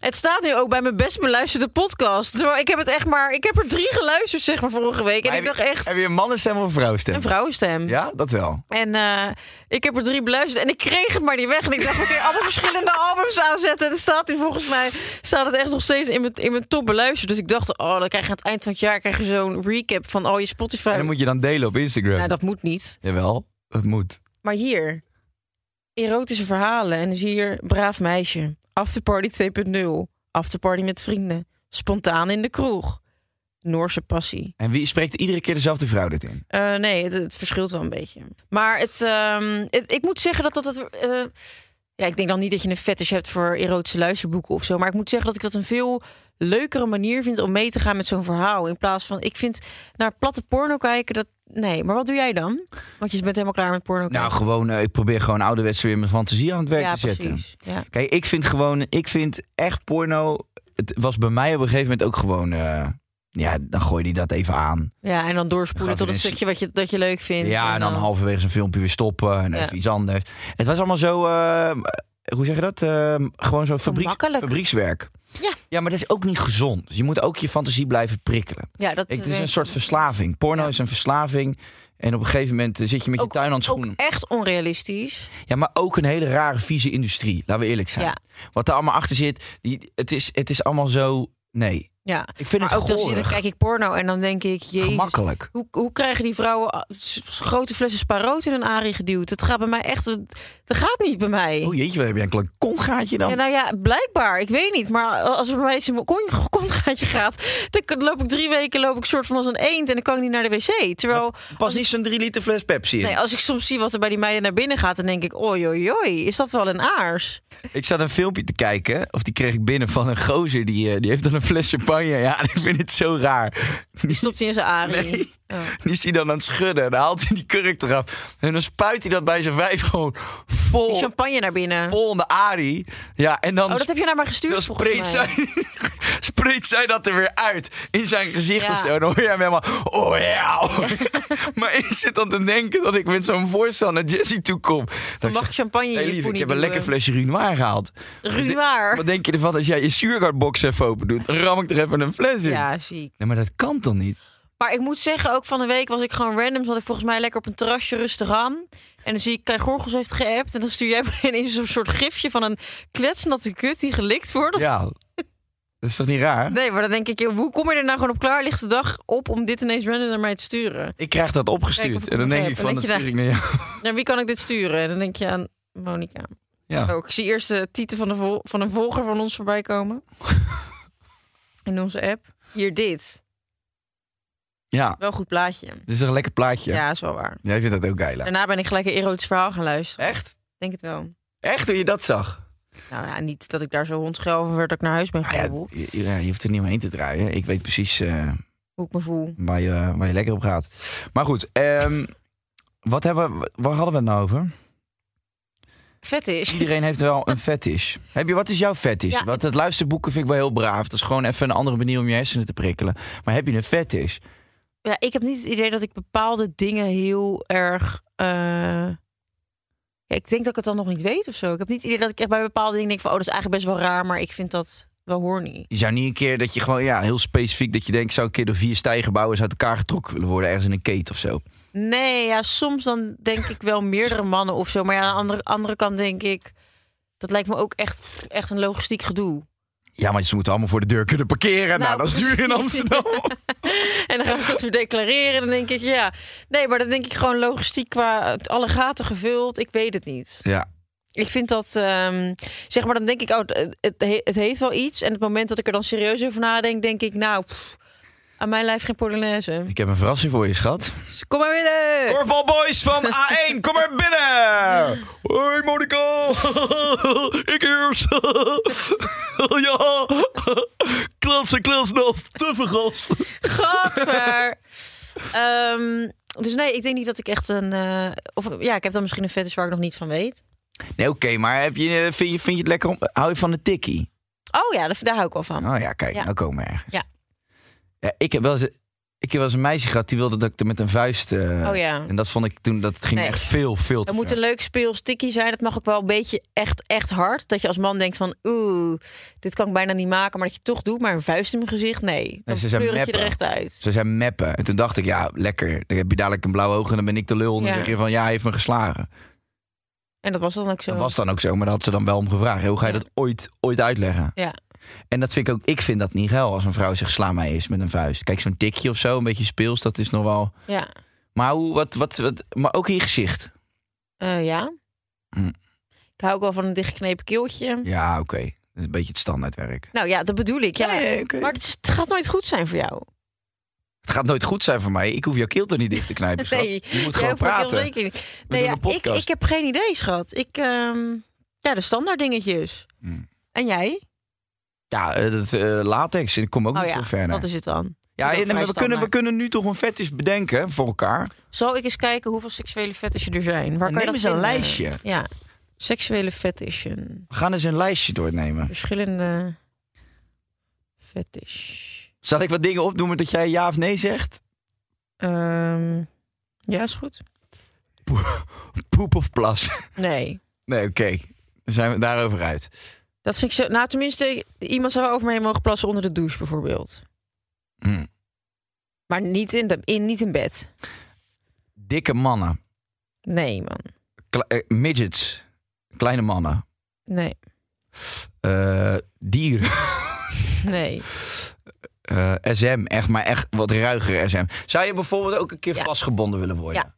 [SPEAKER 8] Het staat nu ook bij mijn best beluisterde podcast. Terwijl Ik heb het echt maar. Ik heb er drie geluisterd, zeg maar, vorige week. En
[SPEAKER 5] Maar
[SPEAKER 8] ik dacht echt.
[SPEAKER 5] Heb je een mannenstem of een vrouwenstem?
[SPEAKER 8] Een vrouwenstem.
[SPEAKER 5] Ja, dat wel.
[SPEAKER 8] En eh, ik heb er drie beluisterd en ik kreeg het maar niet weg. En ik dacht, oké, allemaal verschillende albums aanzetten. En er staat nu volgens mij, staat het echt nog steeds in mijn, in mijn top beluisterd. Dus ik dacht, oh, dan krijg je aan het eind van het jaar krijg je zo'n recap van al je Spotify.
[SPEAKER 5] En dan moet je dan delen op Instagram.
[SPEAKER 8] Nou, dat moet niet.
[SPEAKER 5] Jawel, dat moet.
[SPEAKER 8] Maar hier, erotische verhalen. En dus hier, braaf meisje, afterparty 2.0, afterparty met vrienden, spontaan in de kroeg, Noorse passie.
[SPEAKER 5] En wie spreekt iedere keer dezelfde vrouw dit in?
[SPEAKER 8] Eh, nee, het, het verschilt wel een beetje. Maar het, ehm, het- ik moet zeggen dat dat... Het, eh, ja, ik denk dan niet dat je een fetish hebt voor erotische luisterboeken of zo. Maar ik moet zeggen dat ik dat een veel leukere manier vind om mee te gaan met zo'n verhaal. In plaats van, ik vind naar platte porno kijken, dat... Nee, maar wat doe jij dan? Want je bent helemaal klaar met porno kijken.
[SPEAKER 5] Nou, gewoon, eh, ik probeer gewoon ouderwets weer mijn fantasie aan het werk
[SPEAKER 8] ja,
[SPEAKER 5] te zetten.
[SPEAKER 8] precies. Ja.
[SPEAKER 5] Kijk, ik vind gewoon, ik vind echt porno. Het was bij mij op een gegeven moment ook gewoon. eh, ja, dan gooi je dat even aan.
[SPEAKER 8] ja, en dan
[SPEAKER 5] Dan
[SPEAKER 8] doorspoelen
[SPEAKER 5] gaan
[SPEAKER 8] tot
[SPEAKER 5] we
[SPEAKER 8] het
[SPEAKER 5] dus-
[SPEAKER 8] stukje wat je, dat je leuk vindt.
[SPEAKER 5] Ja, en dan halverwege zo'n filmpje weer stoppen en
[SPEAKER 8] Ja.
[SPEAKER 5] even iets anders. Het was allemaal zo, eh, hoe zeg je dat? Eh, gewoon zo'n fabriek,
[SPEAKER 8] Gemakkelijk.
[SPEAKER 5] fabriekswerk.
[SPEAKER 8] Ja.
[SPEAKER 5] ja, maar dat is ook niet gezond. Dus Je moet ook je fantasie blijven prikkelen.
[SPEAKER 8] Ja, dat
[SPEAKER 5] Ik, het is
[SPEAKER 8] werkt
[SPEAKER 5] een soort verslaving. Porno is een verslaving. En op een gegeven moment eh, zit je met
[SPEAKER 8] Ook-
[SPEAKER 5] je tuin aan het
[SPEAKER 8] ook
[SPEAKER 5] schoenen.
[SPEAKER 8] echt onrealistisch.
[SPEAKER 5] Ja, maar ook een hele rare, vieze industrie. Laten we eerlijk zijn.
[SPEAKER 8] Ja.
[SPEAKER 5] Wat er allemaal achter zit. Die, het, is, het is allemaal zo... Nee,
[SPEAKER 8] Ja.
[SPEAKER 5] Ik vind
[SPEAKER 8] Maar
[SPEAKER 5] het
[SPEAKER 8] ook dan, zie- dan
[SPEAKER 5] goorig.
[SPEAKER 8] kijk ik porno en dan denk ik, jezus,
[SPEAKER 5] Gemakkelijk.
[SPEAKER 8] hoe, hoe krijgen die vrouwen ah, s- s- grote flessen sparoot in een arie geduwd? Dat gaat bij mij echt, dat dat gaat niet bij mij.
[SPEAKER 5] Oh jeetje, wat heb je een klein kontgaatje dan?
[SPEAKER 8] Ja, nou ja, blijkbaar. Ik weet niet. Maar als er bij mij eens in mijn kon- kontgaatje gaat, dan k- loop ik drie weken loop ik soort van als een eend en dan kan ik niet naar de wc. Terwijl,
[SPEAKER 5] Pas niet zo'n 3 liter fles Pepsi in.
[SPEAKER 8] nee, als ik soms zie wat er bij die meiden naar binnen gaat, dan denk ik, oi, oi, oi, is dat wel een aars?
[SPEAKER 5] Ik zat een filmpje te kijken, of die kreeg ik binnen van een gozer. Die, eh, die heeft dan een fles champagne. Ja, en ik vind het zo raar.
[SPEAKER 8] Die stopt hij in zijn arie.
[SPEAKER 5] Nee.
[SPEAKER 8] Oh.
[SPEAKER 5] Die is hij dan aan het schudden. En dan haalt hij die kurk eraf. En dan spuit hij dat bij zijn vijf gewoon
[SPEAKER 8] Die
[SPEAKER 5] vol,
[SPEAKER 8] champagne naar binnen.
[SPEAKER 5] vol in de arie. Ja, en dan,
[SPEAKER 8] Oh, dat heb je naar mij gestuurd
[SPEAKER 5] dan
[SPEAKER 8] volgens mij.
[SPEAKER 5] spreekt, zij, spreekt zij dat er weer uit. In zijn gezicht
[SPEAKER 8] Ja.
[SPEAKER 5] of zo. En dan hoor je hem helemaal... Oh ja. maar ik zit dan te denken dat ik met zo'n voorstel naar Jessie toe kom. Dat
[SPEAKER 8] Mag
[SPEAKER 5] ik zeg,
[SPEAKER 8] champagne in
[SPEAKER 5] hey,
[SPEAKER 8] je
[SPEAKER 5] lief,
[SPEAKER 8] poenie eh?
[SPEAKER 5] ik heb een
[SPEAKER 8] duwen?"
[SPEAKER 5] lekker flesje Runoir gehaald.
[SPEAKER 8] Ruinoir.
[SPEAKER 5] Wat denk je ervan als jij je zuurgaardbox even open doet? Dan ram ik er even een fles in.
[SPEAKER 8] Ja, ziek.
[SPEAKER 5] Nee, maar dat kan toch niet?
[SPEAKER 8] Maar ik moet zeggen, ook van de week was ik gewoon random. Zat ik volgens mij lekker op een terrasje rustig aan. En dan zie ik, Kai Gorgels heeft geappt. En dan stuur jij mij ineens zo'n soort gifje van een kletsnatte kut die gelikt wordt.
[SPEAKER 5] Ja. Dat is toch niet raar?
[SPEAKER 8] Nee, maar dan denk ik, joh, hoe kom je er nou gewoon op klaarlichte dag op om dit ineens random naar mij te sturen?
[SPEAKER 5] Ik krijg dat
[SPEAKER 8] Kijk of
[SPEAKER 5] opgestuurd.
[SPEAKER 8] ik
[SPEAKER 5] En dan
[SPEAKER 8] nog
[SPEAKER 5] denk
[SPEAKER 8] heb.
[SPEAKER 5] ik
[SPEAKER 8] En
[SPEAKER 5] van, dat
[SPEAKER 8] dat je
[SPEAKER 5] stuur ik naar jou.
[SPEAKER 8] Naar wie kan ik dit sturen? En dan denk je aan Monica.
[SPEAKER 5] Ja.
[SPEAKER 8] Oh, ik zie eerst de titel van, de vol- van een volger van ons voorbij komen. In onze app. Hier dit.
[SPEAKER 5] ja,
[SPEAKER 8] Wel een goed plaatje.
[SPEAKER 5] dit is een lekker plaatje.
[SPEAKER 8] Ja,
[SPEAKER 5] Ja.
[SPEAKER 8] is wel waar.
[SPEAKER 5] Jij vindt dat ook geil. hè?
[SPEAKER 8] Daarna ben ik gelijk een erotisch verhaal gaan luisteren.
[SPEAKER 5] Echt?
[SPEAKER 8] Denk het wel.
[SPEAKER 5] Echt hoe je dat zag?
[SPEAKER 8] Nou ja, niet dat ik daar zo hondsgeil van werd dat ik naar huis ben
[SPEAKER 5] Ah ja,
[SPEAKER 8] geroepen.
[SPEAKER 5] je, ja, je hoeft er niet omheen te draaien. Ik weet precies eh,
[SPEAKER 8] Hoe ik me voel.
[SPEAKER 5] waar, je, waar je lekker op gaat. Maar goed, ehm, wat hebben we, waar hadden we het nou over?
[SPEAKER 8] Vet is.
[SPEAKER 5] Iedereen heeft wel een fetish. Heb je, wat is jouw fetish?
[SPEAKER 8] Ja,
[SPEAKER 5] Want het luisterboeken vind ik wel heel braaf. Dat is gewoon even een andere manier om je hersenen te prikkelen. Maar heb je een fetish?
[SPEAKER 8] Ja, ik heb niet het idee dat ik bepaalde dingen heel erg. eh, Ja, ik denk dat ik het dan nog niet weet of zo. Ik heb niet het idee dat ik echt bij bepaalde dingen denk van, oh, dat is eigenlijk best wel raar, maar ik vind dat wel horny.
[SPEAKER 5] Je zou niet een keer dat je gewoon, ja, heel specifiek... dat je denkt, zou een keer door vier stijgerbouwers uit elkaar getrokken willen worden... ergens in een keet of zo.
[SPEAKER 8] Nee, ja, soms dan denk ik wel meerdere mannen of zo. Maar ja, aan de andere, andere kant denk ik, dat lijkt me ook echt, echt een logistiek gedoe.
[SPEAKER 5] Ja, maar ze moeten allemaal voor de deur kunnen parkeren. Nou,
[SPEAKER 8] Nou,
[SPEAKER 5] dat is duur in
[SPEAKER 8] precies.
[SPEAKER 5] Amsterdam.
[SPEAKER 8] En dan gaan ze dat weer declareren. Dan denk ik, ja. Nee, maar dan denk ik gewoon logistiek qua het- alle gaten gevuld. Ik weet het niet.
[SPEAKER 5] ja,
[SPEAKER 8] Ik vind dat, ehm, zeg maar, dan denk ik, oh, het, het he- het heeft wel iets. En het moment dat ik er dan serieus over nadenk, denk ik, nou, pff, aan mijn lijf geen polonaise.
[SPEAKER 5] ik heb een verrassing voor je, schat.
[SPEAKER 8] Kom maar binnen!
[SPEAKER 5] Korfbalboys van A1, kom maar binnen! Hoi Monica! Ik eerst! ja! Klansen, klansnat, tuffe gast!
[SPEAKER 8] Gadver! Ehm, dus nee, ik denk niet dat ik echt een... eh, of ja, ik heb dan misschien een fetish waar ik nog niet van weet.
[SPEAKER 5] Nee, oké, maar heb je, eh, vind, je, vind je het lekker om... Hou je van de tikkie?
[SPEAKER 8] Oh ja, daar, daar hou ik wel van.
[SPEAKER 5] Oh ja, kijk,
[SPEAKER 8] Ja.
[SPEAKER 5] nou komen we ergens.
[SPEAKER 8] Ja.
[SPEAKER 5] Ja, ik, heb wel eens, ik heb wel eens een meisje gehad die wilde dat ik er met een vuist... eh,
[SPEAKER 8] Oh ja.
[SPEAKER 5] En dat vond ik toen, dat ging
[SPEAKER 8] Nee.
[SPEAKER 5] echt veel, veel te
[SPEAKER 8] Dat moet
[SPEAKER 5] ver.
[SPEAKER 8] een leuk speels tikkie zijn. Dat mag ook wel een beetje echt, echt hard. Dat je als man denkt van, oeh, dit kan ik bijna niet maken. Maar dat je het toch doet, maar een vuist in mijn gezicht, nee. Dan
[SPEAKER 5] ze
[SPEAKER 8] pleur
[SPEAKER 5] zijn
[SPEAKER 8] ik je er
[SPEAKER 5] meppen.
[SPEAKER 8] echt uit.
[SPEAKER 5] Ze zijn meppen. En toen dacht ik, ja, lekker. Dan heb je dadelijk een blauw oog en dan ben ik de lul. En dan
[SPEAKER 8] Ja.
[SPEAKER 5] zeg je van, ja, hij heeft me geslagen.
[SPEAKER 8] En dat was dan ook zo.
[SPEAKER 5] Dat was dan ook zo, maar daar had ze dan wel om gevraagd. Hè, Hoe ga je
[SPEAKER 8] Ja.
[SPEAKER 5] dat ooit, ooit uitleggen?
[SPEAKER 8] Ja.
[SPEAKER 5] En dat vind ik ook, ik vind dat niet geil als een vrouw zegt, sla mij eens met een vuist. Kijk, zo'n tikje of zo, een beetje speels, dat is nog wel...
[SPEAKER 8] Ja.
[SPEAKER 5] Maar, hoe, wat, wat, wat, maar ook in je gezicht.
[SPEAKER 8] Eh, ja.
[SPEAKER 5] Hm.
[SPEAKER 8] Ik hou ook wel van een dichtgeknepen keeltje.
[SPEAKER 5] Ja, oké. Dat is een beetje het standaardwerk.
[SPEAKER 8] Nou ja, dat bedoel ik. Ja.
[SPEAKER 5] Nee, nee, oké.
[SPEAKER 8] Maar het, is- het gaat nooit goed zijn voor jou.
[SPEAKER 5] Het gaat nooit goed zijn voor mij. Ik hoef jouw keel toch niet dicht te knijpen, schat.
[SPEAKER 8] Nee,
[SPEAKER 5] je
[SPEAKER 8] Jij
[SPEAKER 5] moet gewoon
[SPEAKER 8] ook, maar heel
[SPEAKER 5] praten.
[SPEAKER 8] zeker niet.
[SPEAKER 5] We
[SPEAKER 8] Nee, ja,
[SPEAKER 5] doen een
[SPEAKER 8] ik,
[SPEAKER 5] podcast.
[SPEAKER 8] ik heb geen idee, schat. Ik, ehm, ja, de standaard dingetjes.
[SPEAKER 5] Hm.
[SPEAKER 8] En jij?
[SPEAKER 5] Ja, eh, dat eh, latex, ik kom ook
[SPEAKER 8] oh
[SPEAKER 5] niet
[SPEAKER 8] ja,
[SPEAKER 5] veel verder.
[SPEAKER 8] wat is het dan?
[SPEAKER 5] Ja,
[SPEAKER 8] Dat
[SPEAKER 5] en-
[SPEAKER 8] vrij
[SPEAKER 5] maar we kunnen, we
[SPEAKER 8] standaard.
[SPEAKER 5] kunnen nu toch een fetish bedenken voor elkaar.
[SPEAKER 8] Zal ik eens kijken hoeveel seksuele fetishen er zijn? Waar kan
[SPEAKER 5] Neem
[SPEAKER 8] je dat
[SPEAKER 5] eens een
[SPEAKER 8] vinden?
[SPEAKER 5] lijstje.
[SPEAKER 8] Ja, seksuele fetishen.
[SPEAKER 5] We gaan eens een lijstje doornemen.
[SPEAKER 8] Verschillende fetish.
[SPEAKER 5] Zal ik wat dingen opnoemen dat jij ja of nee zegt?
[SPEAKER 8] Ehm, ja, is goed.
[SPEAKER 5] Poep of plas?
[SPEAKER 8] Nee,
[SPEAKER 5] Nee, oké. Dan zijn we daarover uit.
[SPEAKER 8] dat vind ik zo... Nou, tenminste, iemand zou wel over me heen mogen plassen onder de douche bijvoorbeeld.
[SPEAKER 5] Hm.
[SPEAKER 8] Maar niet in, de, in, niet in bed.
[SPEAKER 5] Dikke mannen.
[SPEAKER 8] Nee, man.
[SPEAKER 5] Kle- eh, midgets. Kleine mannen.
[SPEAKER 8] Nee,
[SPEAKER 5] Eh, dieren.
[SPEAKER 8] nee.
[SPEAKER 5] eh, SM. Echt, maar echt wat ruiger SM. Zou je bijvoorbeeld ook een keer
[SPEAKER 8] Ja.
[SPEAKER 5] vastgebonden willen worden?
[SPEAKER 8] Ja.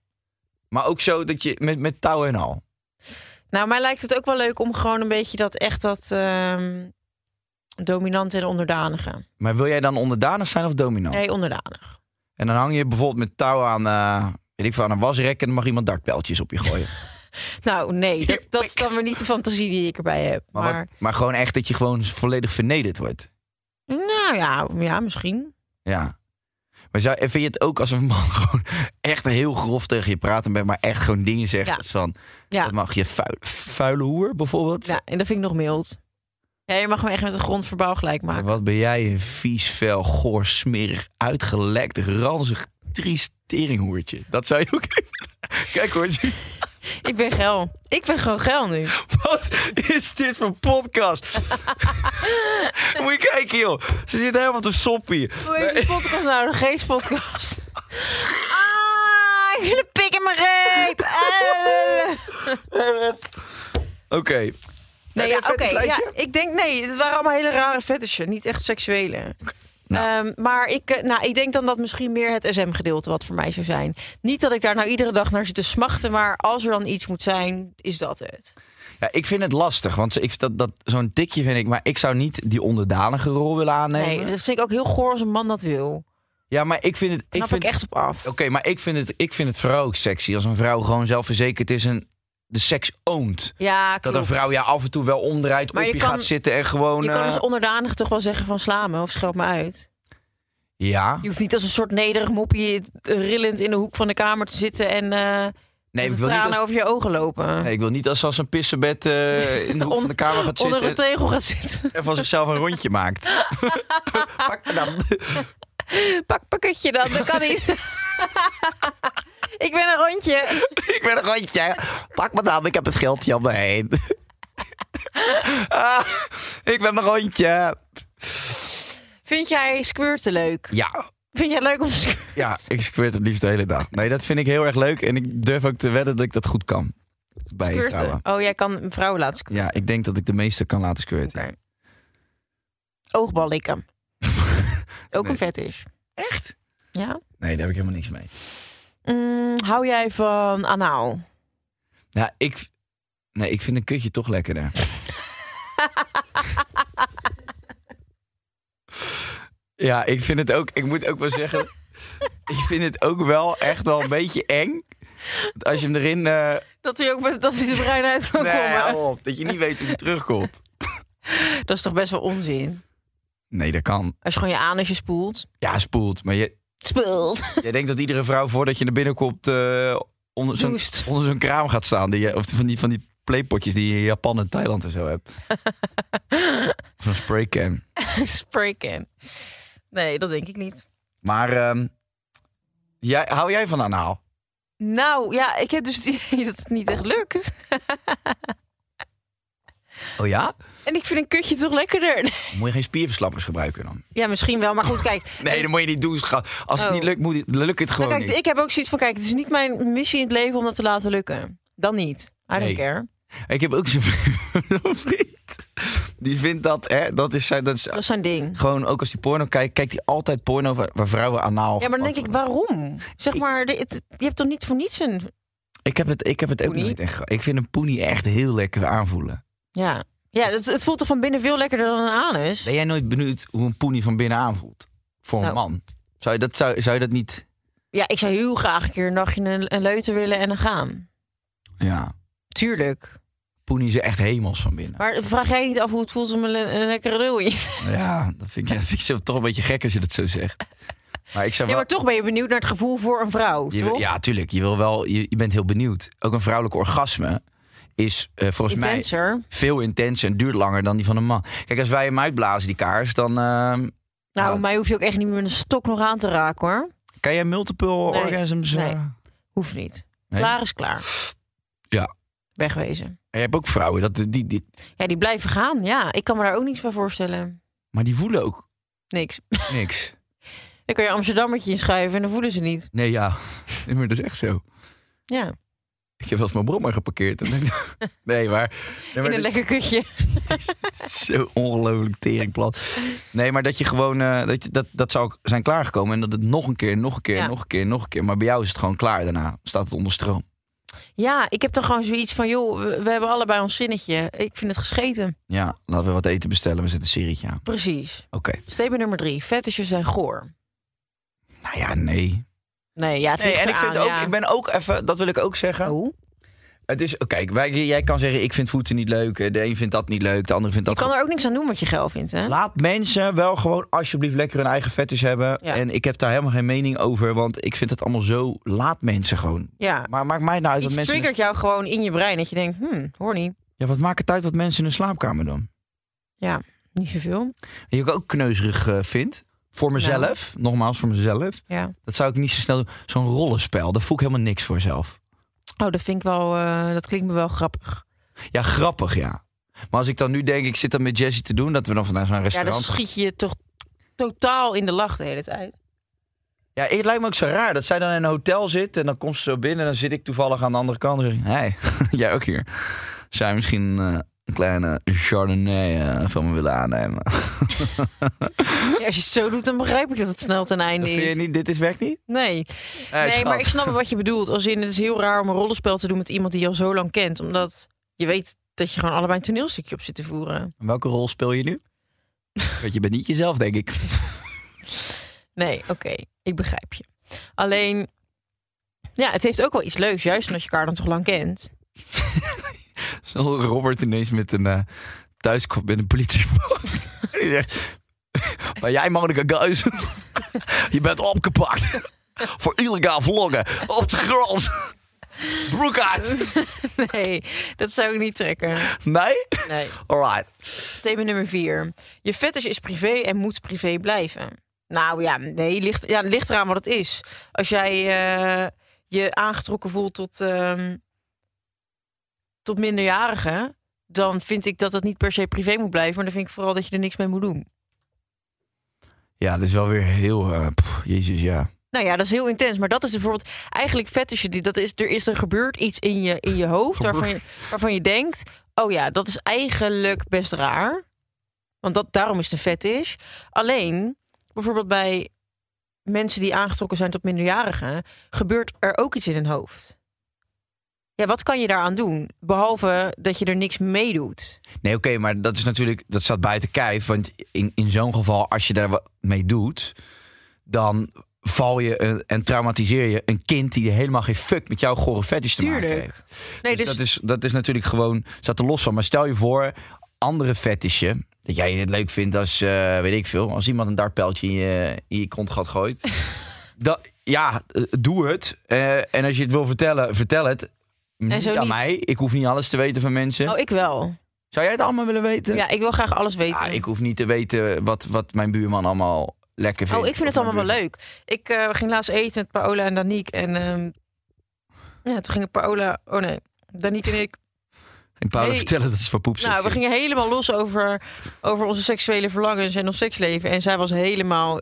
[SPEAKER 5] Maar ook zo dat je met, met touw en al.
[SPEAKER 8] Nou, mij lijkt het ook wel leuk om gewoon een beetje dat echt dat ehm dominante en onderdanige.
[SPEAKER 5] Maar wil jij dan onderdanig zijn of dominant?
[SPEAKER 8] Nee, onderdanig.
[SPEAKER 5] En dan hang je bijvoorbeeld met touw aan, eh, weet ik veel, aan een wasrek en dan mag iemand dartpijltjes op je gooien.
[SPEAKER 8] Nou, nee, dat, dat is dan weer niet de fantasie die ik erbij heb.
[SPEAKER 5] Maar,
[SPEAKER 8] Maar,
[SPEAKER 5] wat- maar gewoon echt dat je gewoon volledig vernederd wordt.
[SPEAKER 8] nou ja, ja, misschien.
[SPEAKER 5] Ja. Maar zou, en vind je het ook als een man gewoon echt heel grof tegen je praat en bent, maar echt gewoon dingen zegt
[SPEAKER 8] Ja.
[SPEAKER 5] als van,
[SPEAKER 8] Ja.
[SPEAKER 5] dat mag je vuil, vuile hoer bijvoorbeeld?
[SPEAKER 8] Ja, en dat vind ik nog mild. Ja, je mag hem echt met een grondverbouw gelijk maken.
[SPEAKER 5] Wat ben jij een vies, vel, goor, smerig, uitgelekt, ranzig, triest teringhoertje. Dat zou je ook... Kijk hoor,
[SPEAKER 8] Ik ben geil. Ik ben gewoon geil nu.
[SPEAKER 5] Wat is dit voor podcast? Moet je kijken, joh. Ze zit helemaal te soppie.
[SPEAKER 8] Hoe heet die podcast nou? De geestpodcast. Ah, ik wil een pik in mijn reet. Ah.
[SPEAKER 5] Oké.
[SPEAKER 8] Nee,
[SPEAKER 5] je
[SPEAKER 8] ja, oké.
[SPEAKER 5] een
[SPEAKER 8] ja,
[SPEAKER 5] fetishlijstje?
[SPEAKER 8] ik denk, nee, het waren allemaal hele rare fetishen. Niet echt seksuele.
[SPEAKER 5] Nou.
[SPEAKER 8] Ehm, maar ik, eh, nou, ik denk dan dat misschien meer het SM-gedeelte wat voor mij zou zijn. Niet dat ik daar nou iedere dag naar zit te smachten, maar als er dan iets moet zijn, is dat het.
[SPEAKER 5] Ja, ik vind het lastig, want ik, dat, dat, zo'n tikje vind ik... Maar ik zou niet die onderdanige rol willen aannemen.
[SPEAKER 8] Nee, dat vind ik ook heel goor als een man dat wil.
[SPEAKER 5] Ja, maar ik vind het... Ik
[SPEAKER 8] Knap ik,
[SPEAKER 5] vind,
[SPEAKER 8] echt op af.
[SPEAKER 5] Oké, maar ik vind, het, ik vind het vooral ook sexy. Als een vrouw gewoon zelfverzekerd is en de seks oont.
[SPEAKER 8] Ja,
[SPEAKER 5] Dat
[SPEAKER 8] klopt.
[SPEAKER 5] een vrouw ja af en toe wel omdraait,
[SPEAKER 8] Maar
[SPEAKER 5] op
[SPEAKER 8] je
[SPEAKER 5] je,
[SPEAKER 8] kan-
[SPEAKER 5] gaat zitten en gewoon...
[SPEAKER 8] Je kan dus
[SPEAKER 5] eh,
[SPEAKER 8] als onderdanig toch wel zeggen van sla me of scheld me uit.
[SPEAKER 5] ja.
[SPEAKER 8] Je hoeft niet als een soort nederig moppie eh, rillend in de hoek van de kamer te zitten en eh
[SPEAKER 5] Nee,
[SPEAKER 8] de
[SPEAKER 5] ik wil, niet
[SPEAKER 8] tranen
[SPEAKER 5] als,
[SPEAKER 8] over je ogen lopen.
[SPEAKER 5] nee, ik wil niet als ze als een pissenbed eh, in de hoek van de kamer gaat
[SPEAKER 8] Onder een
[SPEAKER 5] zitten.
[SPEAKER 8] tegel gaat zitten.
[SPEAKER 5] en van zichzelf een rondje maakt. Pak me dan.
[SPEAKER 8] Pak pakketje dan, dat kan niet. ik ben een rondje.
[SPEAKER 5] Ik ben een rondje. Pak me dan, ik heb het geldje om me heen. Ah, ik ben een rondje.
[SPEAKER 8] Vind jij squirten leuk?
[SPEAKER 5] Ja,
[SPEAKER 8] Vind jij het leuk om te squirten?
[SPEAKER 5] ja, ik squirt het liefst de hele dag. Nee, dat vind ik heel erg leuk. En ik durf ook te wedden dat ik dat goed kan. Bij vrouwen.
[SPEAKER 8] Oh, jij kan vrouwen laten squirten.
[SPEAKER 5] Ja, ik denk dat ik de meeste kan laten squirten.
[SPEAKER 8] Oké. Oogbal likken. Ook
[SPEAKER 5] Nee.
[SPEAKER 8] een fetish.
[SPEAKER 5] Echt?
[SPEAKER 8] Ja.
[SPEAKER 5] Nee, daar heb ik helemaal niks mee.
[SPEAKER 8] Mm, hou jij van anaal?
[SPEAKER 5] Ja, ik... Nee, ik vind een kutje toch lekkerder. ja, ik vind het ook... Ik moet ook wel zeggen... ik vind het ook wel echt wel een beetje eng. Want Als je hem erin... eh,
[SPEAKER 8] Dat hij ook met- dat hij de bruin uit kan
[SPEAKER 5] nee,
[SPEAKER 8] komen.
[SPEAKER 5] hou op. Dat je niet weet hoe hij terugkomt.
[SPEAKER 8] Dat is toch best wel onzin?
[SPEAKER 5] Nee, dat kan.
[SPEAKER 8] Als je gewoon je anusje spoelt.
[SPEAKER 5] Ja, spoelt. Maar je,
[SPEAKER 8] Spoelt.
[SPEAKER 5] jij denkt dat iedere vrouw voordat je naar binnen komt... eh, onder zo'n
[SPEAKER 8] Doucht.
[SPEAKER 5] onder zo'n kraam gaat staan. Die, je- of van die, van die playpotjes die je in Japan en Thailand en zo hebt. zo'n spraycan.
[SPEAKER 8] Spraycan. Nee, dat denk ik niet.
[SPEAKER 5] Maar ehm, jij, hou jij van anaal?
[SPEAKER 8] Nou ja, ik heb dus het idee dat het niet echt lukt.
[SPEAKER 5] Oh ja?
[SPEAKER 8] En ik vind een kutje toch lekkerder.
[SPEAKER 5] Moet je geen spierverslappers gebruiken dan?
[SPEAKER 8] Ja, misschien wel. Maar goed, kijk.
[SPEAKER 5] Nee, dat moet je niet doen. schat. Als het
[SPEAKER 8] Oh.
[SPEAKER 5] niet lukt, moet het, lukt het
[SPEAKER 8] Nou,
[SPEAKER 5] gewoon
[SPEAKER 8] kijk,
[SPEAKER 5] niet.
[SPEAKER 8] ik heb ook zoiets van: kijk, het is niet mijn missie in het leven om dat te laten lukken. Dan niet. I don't
[SPEAKER 5] Nee.
[SPEAKER 8] care.
[SPEAKER 5] Ik heb ook zo'n zo'n vriend. Die vindt dat, hè, dat is, zijn- dat is
[SPEAKER 8] Dat is zijn ding.
[SPEAKER 5] gewoon ook als die porno kijkt, kijkt hij altijd porno waar, waar vrouwen anaal.
[SPEAKER 8] Ja, maar dan denk ik,
[SPEAKER 5] gepakt worden.
[SPEAKER 8] waarom? Zeg
[SPEAKER 5] Ik-
[SPEAKER 8] maar, de- het- je hebt toch niet voor niets een.
[SPEAKER 5] Ik heb het, ik heb het ook
[SPEAKER 8] Poenie?
[SPEAKER 5] nooit echt. ge- Ik vind een poenie echt heel lekker aanvoelen.
[SPEAKER 8] Ja, ja het, het voelt toch van binnen veel lekkerder dan een anus?
[SPEAKER 5] Ben jij nooit benieuwd hoe een poenie van binnen aanvoelt? Voor een
[SPEAKER 8] Nou.
[SPEAKER 5] man. Zou je dat, zou, zou je dat niet.
[SPEAKER 8] Ja, ik zou heel graag een keer een nachtje een, een leuter willen en dan gaan.
[SPEAKER 5] Ja.
[SPEAKER 8] Tuurlijk.
[SPEAKER 5] Poenie is echt hemels van binnen.
[SPEAKER 8] Maar vraag jij niet af hoe het voelt om een, le- een lekkere lul in? je-
[SPEAKER 5] Ja, dat vind ik, dat vind ik zo, toch een beetje gek als je dat zo zegt. Maar ik zou
[SPEAKER 8] Ja,
[SPEAKER 5] wel...
[SPEAKER 8] maar toch ben je benieuwd naar het gevoel voor een vrouw,
[SPEAKER 5] je, wil-
[SPEAKER 8] toch?
[SPEAKER 5] ja, tuurlijk. Je, wil wel, je, je bent heel benieuwd. Ook een vrouwelijk orgasme is eh, volgens mij
[SPEAKER 8] Intenser. Nou,
[SPEAKER 5] veel intenser en duurt langer dan die van een man. Kijk, als wij hem uitblazen, die kaars, dan... ehm,
[SPEAKER 8] Nou,
[SPEAKER 5] Ja.
[SPEAKER 8] mij hoef je ook echt niet meer met een stok nog aan te raken, hoor.
[SPEAKER 5] kan jij multiple orgasms...
[SPEAKER 8] nee.
[SPEAKER 5] eh,
[SPEAKER 8] Hoeft niet.
[SPEAKER 5] nee?
[SPEAKER 8] Klaar is klaar.
[SPEAKER 5] Ja.
[SPEAKER 8] Wegwezen.
[SPEAKER 5] En je hebt ook vrouwen, dat, die, die,
[SPEAKER 8] Ja, die blijven gaan. Ja, ik kan me daar ook niks bij voorstellen.
[SPEAKER 5] maar die voelen ook
[SPEAKER 8] Niks.
[SPEAKER 5] niks.
[SPEAKER 8] Dan kan je een Amsterdammetje inschuiven en dan voelen ze niet.
[SPEAKER 5] Nee, ja. Nee, maar dat is echt zo.
[SPEAKER 8] Ja.
[SPEAKER 5] Ik heb wel eens mijn brommer geparkeerd. En denk, nee, maar... nee, maar
[SPEAKER 8] In een
[SPEAKER 5] dit-
[SPEAKER 8] lekker kutje.
[SPEAKER 5] Zo ongelooflijk teringplat. Nee, maar dat je gewoon... eh, dat, je- dat, dat zou zijn klaargekomen. En dat het nog een keer, nog een keer,
[SPEAKER 8] Ja.
[SPEAKER 5] nog een keer, nog een keer. Maar bij jou is het gewoon klaar daarna. Staat het onder stroom.
[SPEAKER 8] Ja, ik heb dan gewoon zoiets van, joh, we, we hebben allebei ons zinnetje. Ik vind het gescheten.
[SPEAKER 5] Ja, laten we wat eten bestellen. We zetten een serietje aan.
[SPEAKER 8] Precies.
[SPEAKER 5] Oké.
[SPEAKER 8] Statement nummer drie. Fetishes zijn goor.
[SPEAKER 5] Nou ja, nee.
[SPEAKER 8] Nee, ja, het
[SPEAKER 5] Nee,
[SPEAKER 8] ligt
[SPEAKER 5] en ik, vind
[SPEAKER 8] eraan,
[SPEAKER 5] ook,
[SPEAKER 8] ja.
[SPEAKER 5] ik ben ook even... Dat wil ik ook zeggen.
[SPEAKER 8] Oh,
[SPEAKER 5] Het is... Kijk, wij, jij kan zeggen... Ik vind voeten niet leuk. eh, De een vindt dat niet leuk. De ander vindt
[SPEAKER 8] je
[SPEAKER 5] dat...
[SPEAKER 8] kan er ook niks aan doen wat je geil vindt, hè?
[SPEAKER 5] Laat mensen wel gewoon alsjeblieft lekker hun eigen fetish hebben.
[SPEAKER 8] Ja.
[SPEAKER 5] En ik heb daar helemaal geen mening over, want ik vind het allemaal zo. Laat mensen gewoon.
[SPEAKER 8] Ja.
[SPEAKER 5] Maar maakt mij nou uit wat
[SPEAKER 8] Iets
[SPEAKER 5] mensen. in hun-
[SPEAKER 8] triggert jou gewoon in je brein. Dat je denkt, hmm, hoor niet.
[SPEAKER 5] Ja, wat maakt het uit wat mensen in hun slaapkamer doen?
[SPEAKER 8] Ja, niet zoveel.
[SPEAKER 5] Wat ik ook kneuzerig eh, vind. Voor mezelf,
[SPEAKER 8] Nou.
[SPEAKER 5] nogmaals voor mezelf.
[SPEAKER 8] Ja.
[SPEAKER 5] Dat zou ik niet zo snel doen. Zo'n rollenspel, daar voel ik helemaal niks voor zelf.
[SPEAKER 8] Oh, dat vind ik wel, eh, dat klinkt me wel grappig.
[SPEAKER 5] Ja, grappig, ja. Maar als ik dan nu denk, ik zit dat met Jessie te doen, dat we dan vandaag zo'n
[SPEAKER 8] Ja, dan
[SPEAKER 5] restaurant.
[SPEAKER 8] schiet je je toch totaal in de lach de hele tijd.
[SPEAKER 5] Ja, het lijkt me ook zo raar dat zij dan in een hotel zit en dan komt ze zo binnen en dan zit ik toevallig aan de andere kant en zeg ik, hey, jij ook hier. Zou je misschien eh, een kleine chardonnay eh, van me willen aannemen?
[SPEAKER 8] Ja, als je het zo doet, dan begrijp ik dat het snel ten
[SPEAKER 5] Dat
[SPEAKER 8] einde
[SPEAKER 5] vind je
[SPEAKER 8] is.
[SPEAKER 5] niet, dit is werkt niet?
[SPEAKER 8] Nee,
[SPEAKER 5] Hey,
[SPEAKER 8] nee
[SPEAKER 5] schat.
[SPEAKER 8] maar ik snap wel wat je bedoelt. Als in, het is heel raar om een rollenspel te doen met iemand die je al zo lang kent. Omdat je weet dat je gewoon allebei een toneelstukje op zit te voeren.
[SPEAKER 5] Welke rol speel je nu? Want je bent niet jezelf, denk ik.
[SPEAKER 8] Nee, oké, ik begrijp je. Alleen, ja, het heeft ook wel iets leuks. Juist omdat je elkaar dan toch lang kent.
[SPEAKER 5] Zo Robert ineens met een eh thuis komt met een politieboot. Die zegt, maar jij mannelijke guis, je bent opgepakt voor illegaal vloggen op de grond. Broek uit.
[SPEAKER 8] Nee, dat zou ik niet trekken.
[SPEAKER 5] Nee?
[SPEAKER 8] Nee.
[SPEAKER 5] Alright.
[SPEAKER 8] Statement nummer 4. Je fetish is privé en moet privé blijven. Nou ja, nee, ligt, ja, ligt eraan wat het is. Als jij eh, je aangetrokken voelt tot, ehm, tot minderjarigen, dan vind ik dat dat niet per se privé moet blijven. Maar dan vind ik vooral dat je er niks mee moet doen.
[SPEAKER 5] Ja, dat is wel weer heel... eh, pff, jezus, ja.
[SPEAKER 8] Nou ja, dat is heel intens. Maar dat is bijvoorbeeld eigenlijk fetish. die- Dat is, er is er gebeurd iets in je, in je hoofd waarvan je, waarvan je denkt... oh ja, dat is eigenlijk best raar. Want dat, daarom is het een fetish. Alleen, bijvoorbeeld bij mensen die aangetrokken zijn tot minderjarigen... gebeurt er ook iets in hun hoofd. Ja, wat kan je daaraan doen? Behalve dat je er niks mee doet.
[SPEAKER 5] Nee, oké, maar dat is natuurlijk... Dat staat buiten kijf. Want in, in zo'n geval, als je daar wat mee doet... dan val je een- en traumatiseer je een kind... die helemaal geen fuck met jouw gore fetish te maken heeft.
[SPEAKER 8] Tuurlijk. Nee,
[SPEAKER 5] dus
[SPEAKER 8] dus,
[SPEAKER 5] dat, is, dat is natuurlijk gewoon, staat er los van. Maar stel je voor, andere fetishen. Dat jij het leuk vindt als, eh, weet ik veel, als iemand een dartpijltje in je, in je kont gaat gooien. dat, ja, eh, doe het. Eh, en als je het wil vertellen, vertel het. Niet
[SPEAKER 8] zo
[SPEAKER 5] aan
[SPEAKER 8] niet.
[SPEAKER 5] mij. Ik hoef niet alles te weten van mensen.
[SPEAKER 8] Oh, ik wel.
[SPEAKER 5] Zou jij het allemaal willen weten?
[SPEAKER 8] Ja, ik wil graag alles weten.
[SPEAKER 5] Ja, ik hoef niet te weten wat, wat mijn buurman allemaal lekker vindt.
[SPEAKER 8] Oh, ik vind het
[SPEAKER 5] Of
[SPEAKER 8] allemaal
[SPEAKER 5] mijn
[SPEAKER 8] wel leuk. Ik eh, ging laatst eten met Paola en Danique. En ehm, ja, toen gingen Paola... Oh nee, Danique en ik...
[SPEAKER 5] buurvrouw. En Paula
[SPEAKER 8] Nee.
[SPEAKER 5] vertellen dat ze van poep zit.
[SPEAKER 8] Nou, we gingen helemaal los over, over onze seksuele verlangens en ons seksleven. En zij was helemaal...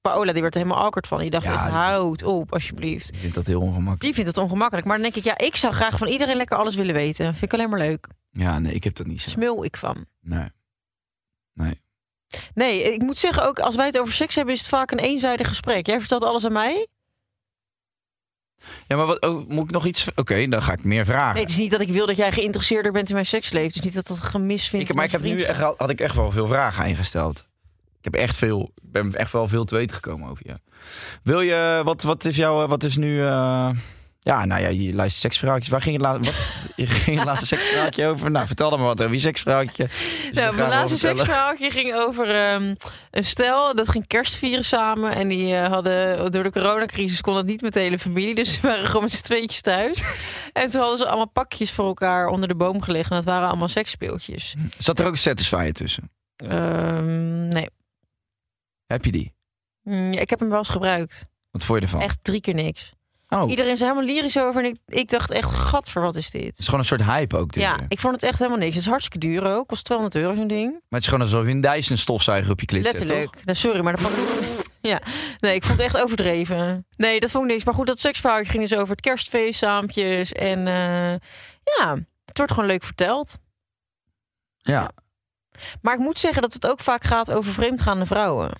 [SPEAKER 8] Paola, die werd er helemaal awkward van. Die dacht
[SPEAKER 5] Ja,
[SPEAKER 8] echt,
[SPEAKER 5] die-
[SPEAKER 8] houd op, alsjeblieft.
[SPEAKER 5] Ik vind dat heel ongemakkelijk.
[SPEAKER 8] Die vindt het ongemakkelijk. Maar dan denk ik, ja, ik zou graag van iedereen lekker alles willen weten. Vind ik alleen maar leuk.
[SPEAKER 5] Ja, nee, ik heb dat niet zo.
[SPEAKER 8] Smul ik van.
[SPEAKER 5] Nee.
[SPEAKER 8] Nee, ik moet zeggen ook, als wij het over seks hebben, is het vaak een eenzijdig gesprek. Jij vertelt alles aan mij.
[SPEAKER 5] Ja, maar wat, oh, moet ik nog iets... Oké, dan ga ik meer vragen.
[SPEAKER 8] Nee, het is niet dat ik wil dat jij geïnteresseerder bent in mijn seksleven. Het is niet dat dat gemis vindt.
[SPEAKER 5] Ik, maar ik heb nu echt, had ik echt wel veel vragen ingesteld. Ik heb echt veel, ik ben echt wel veel te weten gekomen over je. Wil je, wat, wat is jouw, eh, wat is nu, eh, ja, nou ja, je luistert seksverhaaltjes. Waar ging het, laat, wat, je ging het laatste seksverhaaltje over? Nou, vertel dan maar wat over je seksverhaaltje. Dus we
[SPEAKER 8] Nou, mijn
[SPEAKER 5] gaan wel
[SPEAKER 8] laatste
[SPEAKER 5] vertellen.
[SPEAKER 8] seksverhaaltje ging over ehm, een stel dat ging kerst vieren samen. En die eh, hadden door de coronacrisis kon dat niet met de hele familie. Dus ze waren gewoon met z'n tweetjes thuis. En toen hadden ze allemaal pakjes voor elkaar onder de boom gelegd. En dat waren allemaal seksspeeltjes.
[SPEAKER 5] Zat er ook een satisfier tussen?
[SPEAKER 8] Ehm, nee,
[SPEAKER 5] Heb je die?
[SPEAKER 8] Mm, ja, ik heb hem wel eens gebruikt.
[SPEAKER 5] Wat vond je ervan?
[SPEAKER 8] Echt drie keer niks.
[SPEAKER 5] oh,
[SPEAKER 8] Iedereen is er helemaal lyrisch over. En ik, ik dacht echt, gadver, wat is dit?
[SPEAKER 5] het is gewoon een soort hype ook. dus.
[SPEAKER 8] Ja, ik vond het echt helemaal niks. Het is hartstikke duur ook. Kost 200 euro zo'n ding.
[SPEAKER 5] Maar het is gewoon alsof je een Dyson stofzuiger op je klit zet,
[SPEAKER 8] Letterlijk. Nou, sorry, maar dat pak ik... Ja, nee, ik vond het echt overdreven. Nee, dat vond ik niks. Maar goed, dat seksverhaal ging dus over het kerstfeest, saampjes. En eh, ja, het wordt gewoon leuk verteld.
[SPEAKER 5] Ja.
[SPEAKER 8] Maar ik moet zeggen dat het ook vaak gaat over vreemdgaande vrouwen.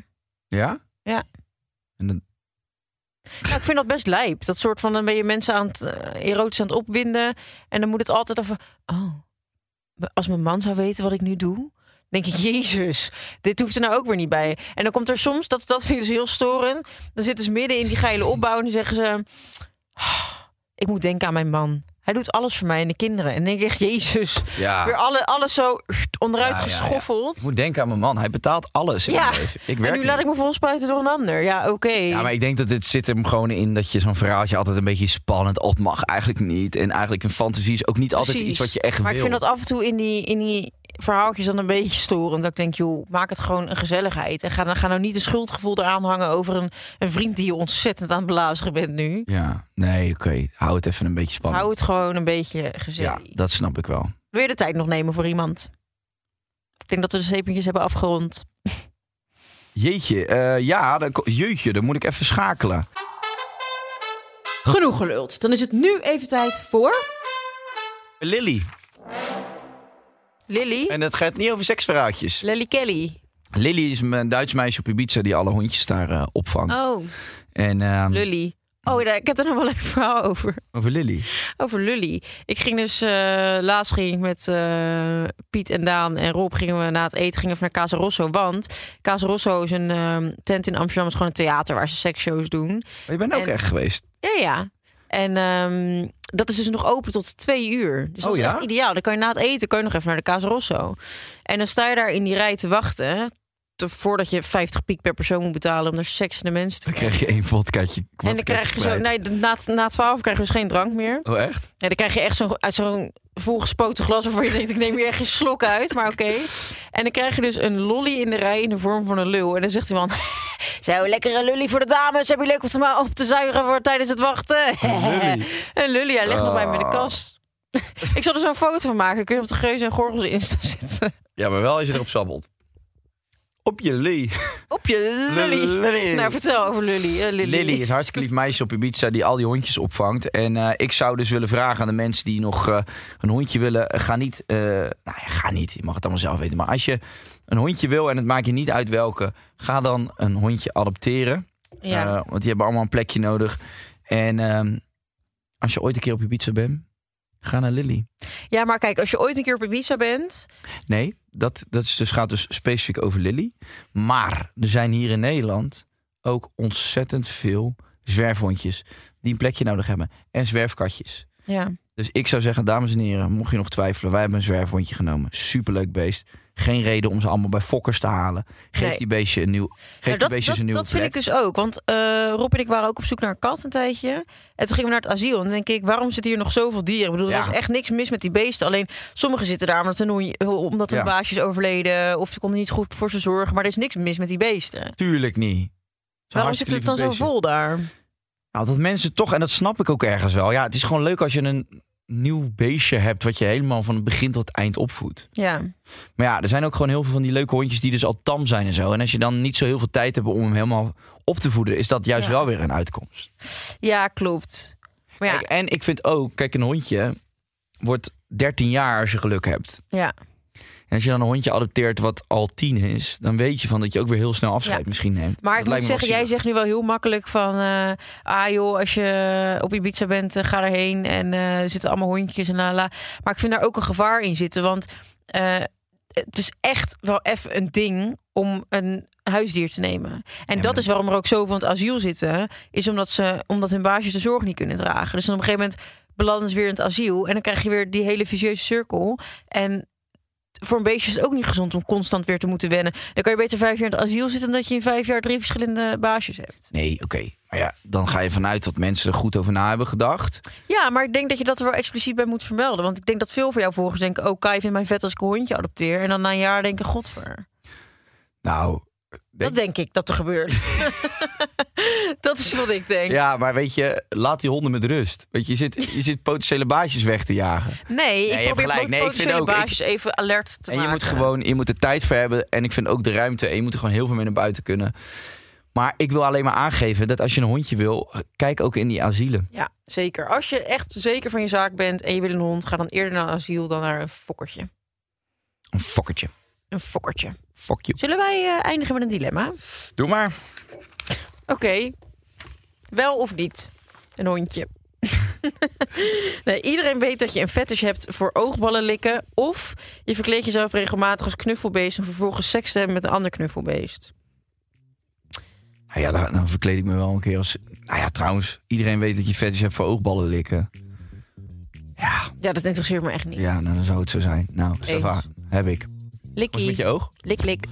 [SPEAKER 5] Ja?
[SPEAKER 8] Ja.
[SPEAKER 5] En dan-
[SPEAKER 8] Nou, ik vind dat best lijp. Dat soort van, dan ben je mensen aan het eh, erotisch aan het opwinden. En dan moet het altijd over... Oh, als mijn man zou weten wat ik nu doe... denk ik, jezus, dit hoeft er nou ook weer niet bij. En dan komt er soms, dat, dat vind ik dus heel storend... dan zitten ze midden in die geile opbouw... en dan zeggen ze... "Ah, ik moet denken aan mijn man. Hij doet alles voor mij en de kinderen. En dan denk ik echt, jezus.
[SPEAKER 5] Ja.
[SPEAKER 8] Weer alle, alles zo onderuit
[SPEAKER 5] Ja, ja, ja.
[SPEAKER 8] geschoffeld.
[SPEAKER 5] Ik moet denken aan mijn man. Hij betaalt alles in
[SPEAKER 8] Ja.
[SPEAKER 5] mijn leven. Ik
[SPEAKER 8] En
[SPEAKER 5] werk
[SPEAKER 8] nu laat
[SPEAKER 5] niet.
[SPEAKER 8] ik me volspuiten door een ander. Ja, oké.
[SPEAKER 5] Ja, maar ik denk dat dit zit hem gewoon in dat je zo'n verhaaltje altijd een beetje spannend. Of het mag eigenlijk niet. En eigenlijk een fantasie is ook niet altijd
[SPEAKER 8] Precies.
[SPEAKER 5] iets wat je echt
[SPEAKER 8] Maar
[SPEAKER 5] wil.
[SPEAKER 8] ik vind dat af en toe in die, in die verhaaltjes dan een beetje storend. Dat ik denk, joh, maak het gewoon een gezelligheid. En ga, dan ga nou niet een schuldgevoel eraan hangen over een, een vriend die je ontzettend aan het blazen bent nu.
[SPEAKER 5] Ja, nee, oké. Hou het even een beetje spannend.
[SPEAKER 8] Hou het gewoon een beetje gezellig.
[SPEAKER 5] ja, dat snap ik wel.
[SPEAKER 8] Wil je de tijd nog nemen voor iemand? Ik denk dat we de zeepentjes hebben afgerond.
[SPEAKER 5] Jeetje, eh, ja, dan, ko- jeetje, dan moet ik even schakelen.
[SPEAKER 8] Genoeg geluld. Dan is het nu even tijd voor...
[SPEAKER 5] Lily.
[SPEAKER 8] Lily.
[SPEAKER 5] En het gaat niet over seksverhaaltjes.
[SPEAKER 8] Lily Kelly.
[SPEAKER 5] Lily is een Duits meisje op Ibiza die alle hondjes daar eh, opvangt.
[SPEAKER 8] Oh,
[SPEAKER 5] En, ehm,
[SPEAKER 8] Lully. Oh, daar- ik heb er nog wel een leuk verhaal over.
[SPEAKER 5] Over Lily.
[SPEAKER 8] Over Lully. Ik ging dus eh, laatst ging ik met eh, Piet en Daan en Rob gingen we na het eten gingen we naar Casa Rosso. Want Casa Rosso is een ehm, tent in Amsterdam. Het is gewoon een theater waar ze seksshows doen.
[SPEAKER 5] Maar je bent ook
[SPEAKER 8] En-
[SPEAKER 5] echt geweest.
[SPEAKER 8] Ja, ja. En ehm, dat is dus nog open tot twee uur. Dus dat
[SPEAKER 5] Oh,
[SPEAKER 8] is
[SPEAKER 5] ja?
[SPEAKER 8] echt ideaal. Dan kan je na het eten kan je nog even naar de Casa Rosso. En dan sta je daar in die rij te wachten. Te, voordat je 50 piek per persoon moet betalen om naar seks en de mensen te
[SPEAKER 5] Dan krijg je één vodkaatje.
[SPEAKER 8] En dan krijg je zo... Nee, na, na 12 krijg je dus geen drank meer.
[SPEAKER 5] Oh, echt?
[SPEAKER 8] Ja, dan krijg je echt zo'n uit zo'n volgespoten glas waarvan je denkt, ik neem hier echt geen slok uit, maar oké. En dan krijg je dus een lolly in de rij in de vorm van een lul. En dan zegt die man, zo, lekkere lolly voor de dames. Heb je leuk om te, ma- op te zuigen voor tijdens het wachten?
[SPEAKER 5] lully.
[SPEAKER 8] Een lully, hij ligt nog bij me in de
[SPEAKER 5] Ah.
[SPEAKER 8] kast. ik zal er zo'n foto van maken, dan kun je op de geuze en gorgels Insta zetten.
[SPEAKER 5] Ja, maar wel als je erop sabbelt. Op je Lee.
[SPEAKER 8] Op je lully.
[SPEAKER 5] Lily.
[SPEAKER 8] Nou, vertel over lully. eh, lilly.
[SPEAKER 5] Lily is een hartstikke lief meisje op Ibiza die al die hondjes opvangt. En eh, ik zou dus willen vragen aan de mensen die nog eh, een hondje willen. eh, Ga niet, eh, nou ja, ga niet, je mag het allemaal zelf weten. Maar als je een hondje wil en het maakt je niet uit welke, ga dan een hondje adopteren.
[SPEAKER 8] Ja.
[SPEAKER 5] Eh, want die hebben allemaal een plekje nodig. En ehm, als je ooit een keer op Ibiza bent, ga naar Lily.
[SPEAKER 8] ja, maar kijk, als je ooit een keer op Ibiza bent...
[SPEAKER 5] Nee, dat, dat is dus, gaat dus specifiek over Lily. Maar er zijn hier in Nederland ook ontzettend veel zwerfhondjes die een plekje nodig hebben. En zwerfkatjes.
[SPEAKER 8] Ja.
[SPEAKER 5] Dus ik zou zeggen, dames en heren, mocht je nog twijfelen, wij hebben een zwerfhondje genomen. Superleuk beest. Geen reden om ze allemaal bij fokkers te halen. Geef
[SPEAKER 8] Nee.
[SPEAKER 5] die beestje een nieuw. Geef
[SPEAKER 8] Ja,
[SPEAKER 5] die
[SPEAKER 8] Nou, dat,
[SPEAKER 5] beestjes
[SPEAKER 8] dat,
[SPEAKER 5] een nieuwe
[SPEAKER 8] dat vind ik
[SPEAKER 5] plek.
[SPEAKER 8] dus ook. Want eh, Rob en ik waren ook op zoek naar een kat een tijdje. En toen gingen we naar het asiel. En dan denk ik, waarom zitten hier nog zoveel dieren? Ik bedoel,
[SPEAKER 5] Ja.
[SPEAKER 8] er was echt niks mis met die beesten. Alleen sommigen zitten daar omdat hun, hoen- omdat hun
[SPEAKER 5] Ja.
[SPEAKER 8] baasje is overleden. Of ze konden niet goed voor ze zorgen. Maar er is niks mis met die beesten.
[SPEAKER 5] Tuurlijk niet. Zo'n
[SPEAKER 8] dus- waarom zit
[SPEAKER 5] hartstikke
[SPEAKER 8] het dan
[SPEAKER 5] lieve
[SPEAKER 8] zo
[SPEAKER 5] beestje.
[SPEAKER 8] vol daar?
[SPEAKER 5] Nou, dat mensen toch, en dat snap ik ook ergens wel. Ja, het is gewoon leuk als je een nieuw beestje hebt... wat je helemaal van het begin tot het eind opvoedt.
[SPEAKER 8] Ja,
[SPEAKER 5] Maar ja, er zijn ook gewoon heel veel van die leuke hondjes die dus al tam zijn en zo. En als je dan niet zo heel veel tijd hebt om hem helemaal op te voeden, is dat juist
[SPEAKER 8] Ja.
[SPEAKER 5] wel weer een uitkomst.
[SPEAKER 8] ja klopt. Maar ja,
[SPEAKER 5] Kijk, en ik vind ook, kijk, een hondje wordt 13 jaar als je geluk hebt.
[SPEAKER 8] ja,
[SPEAKER 5] En als je dan een hondje adopteert wat al 10 is, dan weet je van dat je ook weer heel snel afscheid
[SPEAKER 8] Ja.
[SPEAKER 5] misschien neemt.
[SPEAKER 8] maar
[SPEAKER 5] dat
[SPEAKER 8] ik moet
[SPEAKER 5] lijkt me wel
[SPEAKER 8] zeggen, jij
[SPEAKER 5] zielig.
[SPEAKER 8] zegt nu wel heel makkelijk van... eh, ah joh, als je op Ibiza bent, eh, ga erheen. En eh, er zitten allemaal hondjes en la la. Maar ik vind daar ook een gevaar in zitten. Want eh, het is echt wel even een ding om een huisdier te nemen. En
[SPEAKER 5] Ja,
[SPEAKER 8] dat
[SPEAKER 5] maar-
[SPEAKER 8] is waarom er ook zoveel aan het asiel zitten. Is omdat, ze, omdat hun baasjes de zorg niet kunnen dragen. Dus dan op een gegeven moment belanden ze weer in het asiel. En dan krijg je weer die hele vicieuze cirkel. En voor een beestje is het ook niet gezond om constant weer te moeten wennen. Dan kan je beter vijf jaar in het asiel zitten... dan dat je in vijf jaar drie verschillende baasjes hebt.
[SPEAKER 5] Nee, oké. Maar ja, dan ga je vanuit dat mensen er goed over na hebben gedacht.
[SPEAKER 8] Ja, maar ik denk dat je dat er wel expliciet bij moet vermelden. Want ik denk dat veel van jouw volgers denken... oh, Kai vindt mij vet als ik een hondje adopteer. En dan na een jaar denken, godver.
[SPEAKER 5] Nou,
[SPEAKER 8] Dat denk ik dat er gebeurt. dat is wat ik denk.
[SPEAKER 5] ja, maar weet je, laat die honden met rust. Weet je, je zit, je zit potentiële baasjes weg te jagen.
[SPEAKER 8] Nee, ik
[SPEAKER 5] je hebt
[SPEAKER 8] probeer
[SPEAKER 5] gelijk.
[SPEAKER 8] pot-
[SPEAKER 5] Nee, ik vind
[SPEAKER 8] potentiële
[SPEAKER 5] ook- ik-
[SPEAKER 8] baasjes even alert te
[SPEAKER 5] En je
[SPEAKER 8] maken.
[SPEAKER 5] moet gewoon, je moet er tijd voor hebben. En ik vind ook de ruimte. En je moet er gewoon heel veel mee naar buiten kunnen. Maar ik wil alleen maar aangeven dat als je een hondje wil, kijk ook in die asielen.
[SPEAKER 8] Ja, zeker. Als je echt zeker van je zaak bent en je wil een hond, ga dan eerder naar een asiel dan naar een fokkertje.
[SPEAKER 5] Een fokkertje.
[SPEAKER 8] Een fokkertje.
[SPEAKER 5] Fuck you.
[SPEAKER 8] Zullen wij eh, eindigen met een dilemma? Oké,
[SPEAKER 5] Doe maar.
[SPEAKER 8] wel of niet een hondje. nee, iedereen weet dat je een fetish hebt voor oogballen likken. Of je verkleed jezelf regelmatig als knuffelbeest en vervolgens seks te hebben met een ander knuffelbeest.
[SPEAKER 5] Nou ja, dan, dan verkleed ik me wel een keer als... Nou ja, trouwens, iedereen weet dat je fetish hebt voor oogballen likken. Ja,
[SPEAKER 8] Ja, dat interesseert me echt niet.
[SPEAKER 5] ja nou, dan zou het zo zijn. Nou, ça va. heb ik. Wat met
[SPEAKER 8] Likkie,
[SPEAKER 5] je oog?
[SPEAKER 8] lik lik.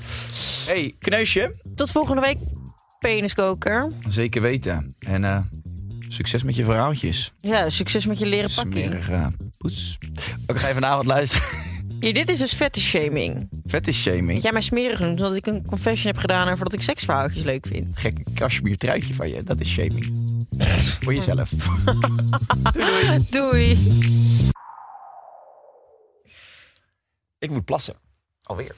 [SPEAKER 5] hey, kneusje.
[SPEAKER 8] Tot volgende week, peniskoker.
[SPEAKER 5] Zeker weten. En eh, succes met je verhaaltjes.
[SPEAKER 8] Ja, succes met je leren pakking.
[SPEAKER 5] Smerige poets. Ook ga je vanavond luisteren.
[SPEAKER 8] Ja, dit is dus fetish shaming.
[SPEAKER 5] Fetish shaming.
[SPEAKER 8] Dat jij mij smerig noemt omdat ik een confession heb gedaan over dat ik seksverhaaltjes leuk vind.
[SPEAKER 5] Gekke cashmere truitje van je. Dat is shaming. voor jezelf.
[SPEAKER 8] Doei.
[SPEAKER 5] ik moet plassen. Alweer.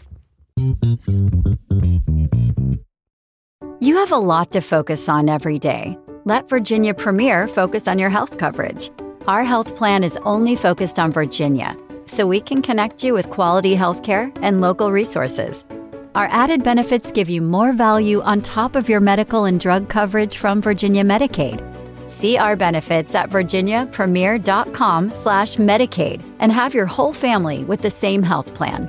[SPEAKER 9] You have a lot to focus on every day. Let Virginia Premier focus on your health coverage. Our health plan is only focused on Virginia, so we can connect you with quality health care and local resources. Our added benefits give you more value on top of your medical and drug coverage from Virginia Medicaid. See our benefits at virginiapremier.com slash Medicaid and have your whole family with the same health plan.